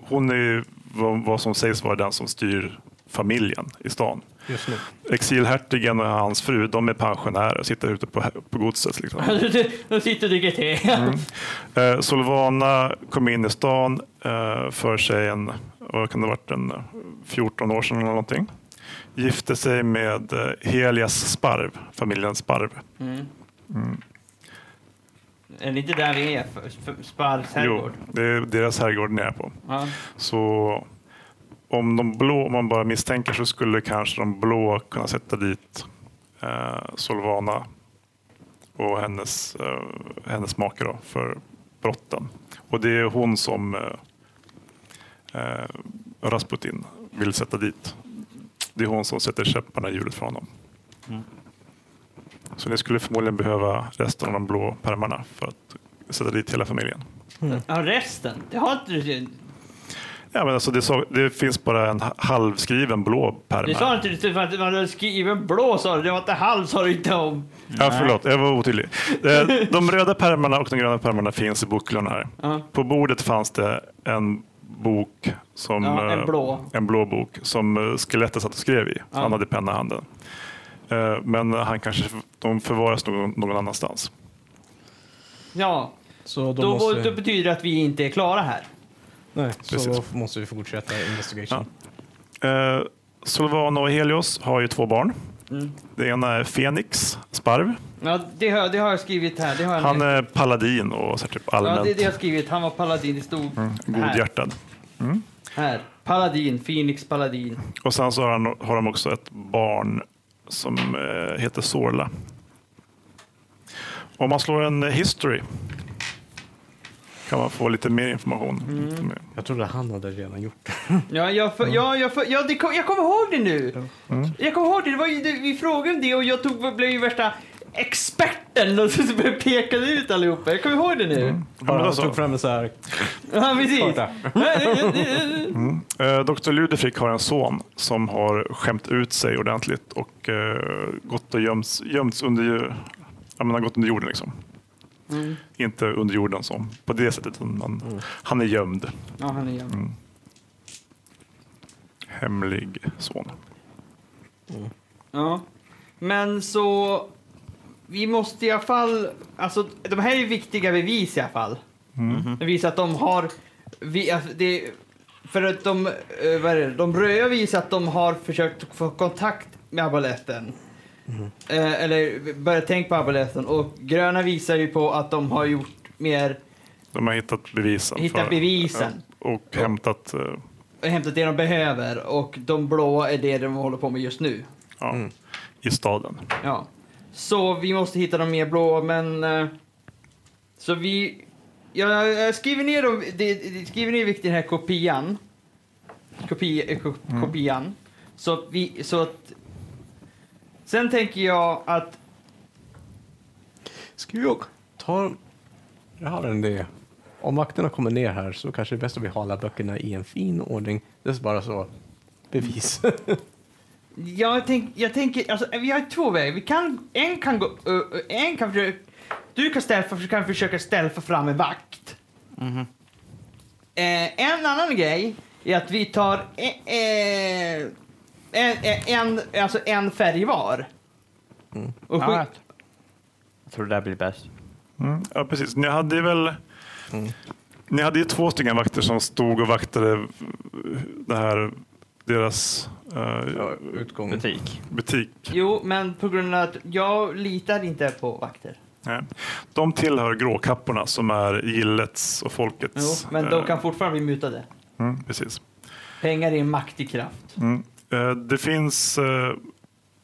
C: hon är ju vad, vad som sägs vara den som styr familjen i stan
B: Just nu.
C: exilhertigen och hans fru, de är pensionärer och sitter ute på, på godset. Liksom.
A: De sitter och dricker te.
C: Eh, Solvana kom in i stan eh, för sig en, vad kan det ha varit, en eh, 14 år sedan eller någonting. Gifte sig med eh, Helias Sparv, familjen Sparv.
A: Mm. Är det inte där vi är? För- för- Sparrs herrgård?
C: det är deras herrgård ni är på.
A: Ja.
C: Så om de blå, om man bara misstänker så skulle kanske de blå kunna sätta dit eh, Solvana och hennes, eh, hennes make då, för brotten. Och det är hon som eh, eh, Rasputin vill sätta dit. Det är hon som sätter käpparna i hjulet för honom. Så ni skulle förmodligen behöva resten av de blå pärmarna för att sätta dit hela familjen.
A: Ja, resten. Det har inte du.
C: Ja, men alltså det, så, det finns bara en ha- halvskriven blå pärm
A: Du sa
C: här.
A: inte det för att man hade skriven blå sa du, det var inte halv sa du inte om.
C: Ja, förlåt, jag var otydlig. Eh, De röda pärmarna och de gröna pärmarna finns i bokhyllan här.
A: Ja.
C: På bordet fanns det en bok som...
A: Ja, en
C: eh,
A: blå.
C: En blå bok som eh, skelettet satt och skrev i. Han hade penna i handen. Eh, Men han kanske, de förvaras någon, någon annanstans.
A: Ja,
B: Så då,
A: då,
B: måste...
A: då betyder det att vi inte är klara här.
B: Nej, så
C: Precis.
B: då måste vi fortsätta investigation.
C: Eh, Solvana och Helios har ju två barn. Det ena är Fenix Sparv.
A: Mm. Ja, det har, det har jag skrivit här. Det har jag
C: Han
A: med.
C: är paladin och så här typ allmänt Mm,
A: ja, det, det har jag skrivit. Han var paladin. Det stod här.
C: godhjärtad.
A: här. Paladin, Phoenix paladin.
C: Och sen så har, han, har de också ett barn som eh, heter Sorla. Om man slår en history kan man få lite mer information.
B: Mm.
C: Lite mer.
B: Jag trodde han hade redan gjort det.
A: Ja, jag, för, ja, jag, för, ja det kom, jag kommer ihåg det nu.
C: Mm.
A: Jag kommer ihåg det. det, var ju, det vi frågade om det och jag tog, blev ju värsta experten och så pekade ut allihopa. Jag kommer ihåg det nu.
C: men
B: Bara
C: då
B: han
C: så.
B: tog fram en så här
A: Ja, precis.
B: karta.
C: Eh, Dr. Ludefrick har en son som har skämt ut sig ordentligt och eh, gått och gömts, gömts under, ju- jag menar, gått under jorden. Liksom. Inte under jorden som på det sättet. utan Man,
B: Mm.
C: Han är gömd.
A: Ja, han är jävla-
C: Hemlig son.
A: Ja. Men så... Vi måste i alla fall... Alltså, de här är viktiga bevis i alla fall.
C: Mm.
A: Det visar att de har... Vi, alltså, det, för att de, eh, vad är det, de röda visar att de har försökt få kontakt med aboleten. Eh, eller börjat tänka på aboleten. Och gröna visar ju på att de har gjort mer...
C: De har hittat bevisen.
A: Hittat bevisen.
C: eh, Och hämtat... eh,
A: Hämtat det de behöver. Och de blåa är det de håller på med just nu.
C: Ja, I staden.
A: Ja. Så vi måste hitta de mer blå, men... eh, Så vi... Jag, jag skriver ner dem, det, det, skriver ner vilket den här kopian. Kopi, eh, ko, Kopian. Så att vi, så att... Sen tänker jag att...
B: Ska vi åka? Ta... Jag har en idé. Om vakterna kommer ner här så kanske det är bäst att vi har alla böckerna i en fin ordning. Det är bara så. Bevis.
A: Jag, tänk, jag tänker, alltså, vi har två vägar. Vi kan, en kan gå... ö, ö, en kan försöka... Du kan, ställa, kan försöka ställa fram en vakt. Eh, en annan grej är att vi tar eh, eh, en, eh, en, alltså en färg var. Och
F: Ja,
A: skick,
F: jag jag tror det där blir bäst.
C: Mm. Ja, precis. Ni hade ju väl... Ni hade ju två stycken vakter som stod och vaktade det här, deras eh,
B: Utgång.
F: Butik.
C: butik.
A: jo, men på grund av att jag litar inte på vakter.
C: Nej. De tillhör gråkapporna som är gillets och folkets.
A: Jo, men de
C: eh,
A: kan fortfarande bli mutade.
C: mm, precis.
A: Pengar är en maktig kraft.
C: Mm. Eh, Det finns... eh,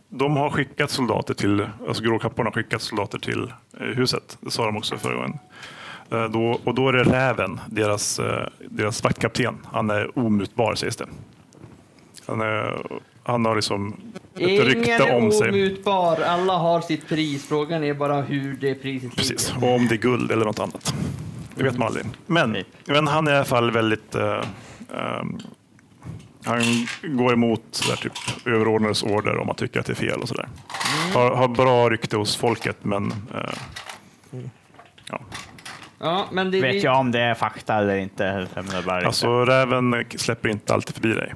C: De har skickat soldater till... Alltså gråkapporna har skickat soldater till eh, huset. Det sa de också förra gången. Eh, Då, och då är det Räven, deras, eh, deras vaktkapten. Han är omutbar sägs det. Han, är, han har liksom ett
A: Ingen
C: rykte om
A: är
C: sig.
A: omutbar. Alla har sitt pris. Frågan är bara hur det priset
C: Precis,
A: ligger.
C: och om det är guld eller något annat. Det vet man aldrig. Men,
F: Nej.
C: men han är i alla fall väldigt... eh, ehm, han går emot så där, typ, överordnades order om man tycker att det är fel och sådär.
A: Mm.
C: Har, har bra rykte hos folket, men... eh, ja.
A: Ja, men det,
F: Vet jag om det är fakta eller inte? Jag menar bara inte.
C: Alltså, räven släpper inte alltid förbi dig.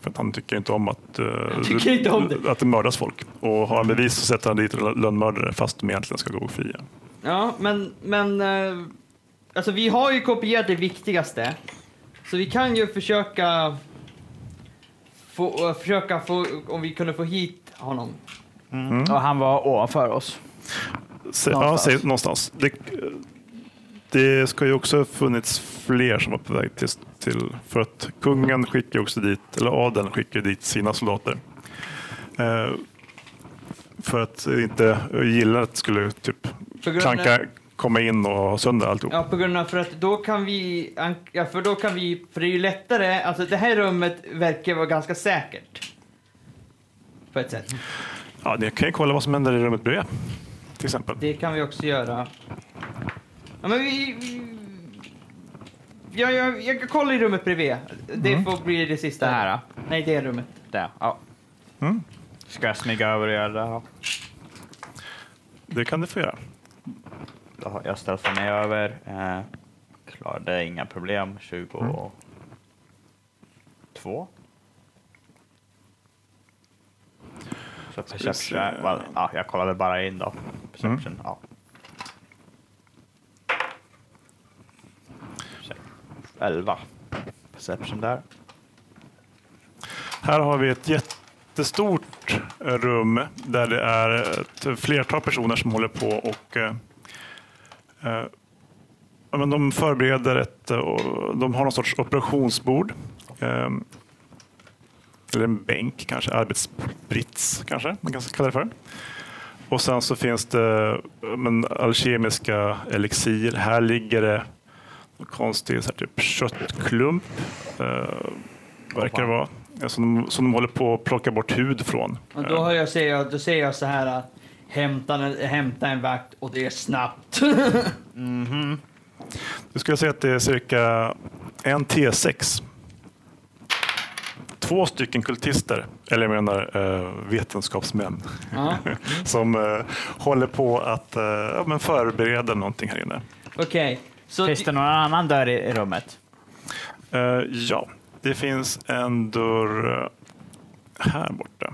C: För att han tycker inte om att, eh,
A: tycker inte om
C: att det mördas folk. Och har han bevis så sätter han dit lönnmördare fast de egentligen ska gå fria.
A: Ja, men, men eh, alltså vi har ju kopierat det viktigaste. Så vi kan ju försöka få, eh, försöka få om vi kunde få hit honom.
C: mm.
F: Och han var ovanför oss.
C: Sä-
F: Någonstans.
C: Ja, säg, någonstans. Det, det ska ju också ha funnits fler som var på väg till, till för att kungen skickar ju också dit, eller adeln skickar dit sina soldater. Eh, för att inte gillet skulle typ
A: På grund av-
C: klanka, komma in och ha sönder alltihop.
A: Ja, på grund av för att då kan vi, ank- ja, för då kan vi, för det är ju lättare, alltså det här rummet verkar vara ganska säkert. På ett sätt.
C: Ja, ni kan ju kolla vad som händer i rummet bredvid. Till exempel.
A: Det kan vi också göra. Ja, men vi, vi, jag, jag, jag kollar i rummet bredvid. Det får bli det
F: Mm. Det
A: sista.
F: här då?
A: Nej, det är rummet.
F: Där. Ja.
C: Mm.
F: Ska jag smyga över och göra det? här då?
C: Det kan du få göra.
F: Då har jag ställt mig över. Eh, klarade inga problem. 22. Så
C: vi se.
F: perception. Well, ja, jag kollade bara in då. Perception. Ja. Så, 11. Perception där.
C: Här har vi ett jättestort eh, rum där det är ett flertal personer som håller på och eh, eh, ja, men de förbereder ett, eh, och de har någon sorts operationsbord. Eh, eller en bänk kanske, arbetsbrits kanske man kan kalla det för. Och sen så finns det eh, men, alkemiska elixir. Här ligger det någon konstig så här, typ köttklump. Eh, verkar det vara. Ja, Som de, som de håller på att plocka bort hud från.
A: Och då, har jag, säger jag, då säger jag så här. äh, Hämta en, hämta en vakt och det är snabbt.
C: Du skulle säga att det är cirka en T6. Två stycken kultister, eller jag menar eh, vetenskapsmän,
F: Mm.
A: ja.
C: som eh, håller på att eh, ja, men förbereda någonting här inne.
A: Okej. Så
F: Finns det någon annan dörr i i rummet?
C: Eh, ja, det finns en dörr eh, här borta.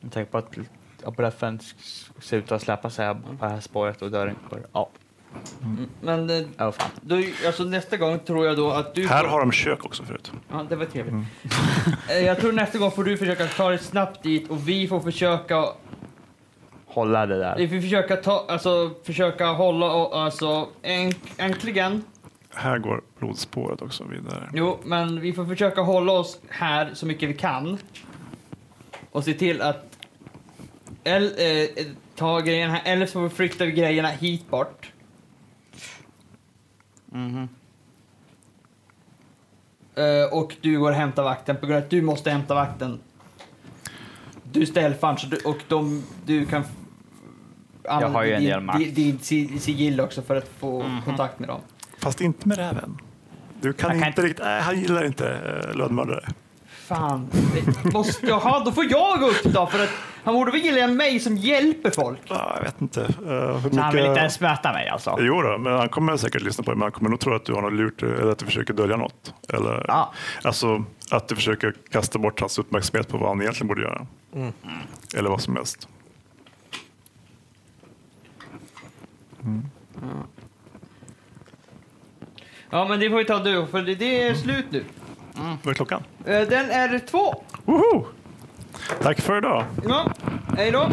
F: Jag tänker på att apparaten ser ut att släppa sig på det här spåret och dörren går. Ja,
A: men äh,
F: oh, fan.
A: då, alltså, nästa gång tror jag då att du...
C: Här
A: får-
C: har de kök också förut.
A: Ja, det var trevligt.
F: Mm.
A: Eh, jag tror nästa gång får du försöka ta dig snabbt dit och vi får försöka...
F: Hålla det där.
A: Vi får försöka ta... Alltså, försöka hålla och alltså... Änt, äntligen.
C: Här går blodspåret också vidare.
A: Jo, men vi får försöka hålla oss här så mycket vi kan. Och se till att... El, eh, ta grejerna här, eller så flyttar vi grejerna hit bort.
F: Mm-hmm.
A: Eh, och du går och hämtar vakten på grund av att du måste hämta vakten. Du är ställfan, så du, och de, du kan... f- använda
F: har ju en Mhm.
A: din-
F: del makt.
A: din- Din si- sigill också för att få kontakt med dem.
C: Fast inte med räven. Du kan,
F: Han
C: inte
F: kan inte-
C: riktigt... Nej, han gillar inte eh, lönnmördare.
A: Fan, det måste jag ha? Då får jag gå upp då för att han borde väl gilla mig som hjälper folk.
C: Ja, jag vet inte. eh, hur
F: Så han vill
C: mycket-
F: inte ens möta mig alltså?
C: Jo då, men han kommer säkert lyssna på det, men han kommer nog tro att du har något lurt eller att du försöker dölja något. Eller,
F: Ja.
C: Alltså att du försöker kasta bort hans uppmärksamhet på vad han egentligen borde göra. Eller vad som helst.
A: Ja, men det får vi ta du för det- det är slut nu.
C: Vad är klockan?
A: Eh, Den är två.
C: Woho! Tack för idag!
A: Ja, hej då.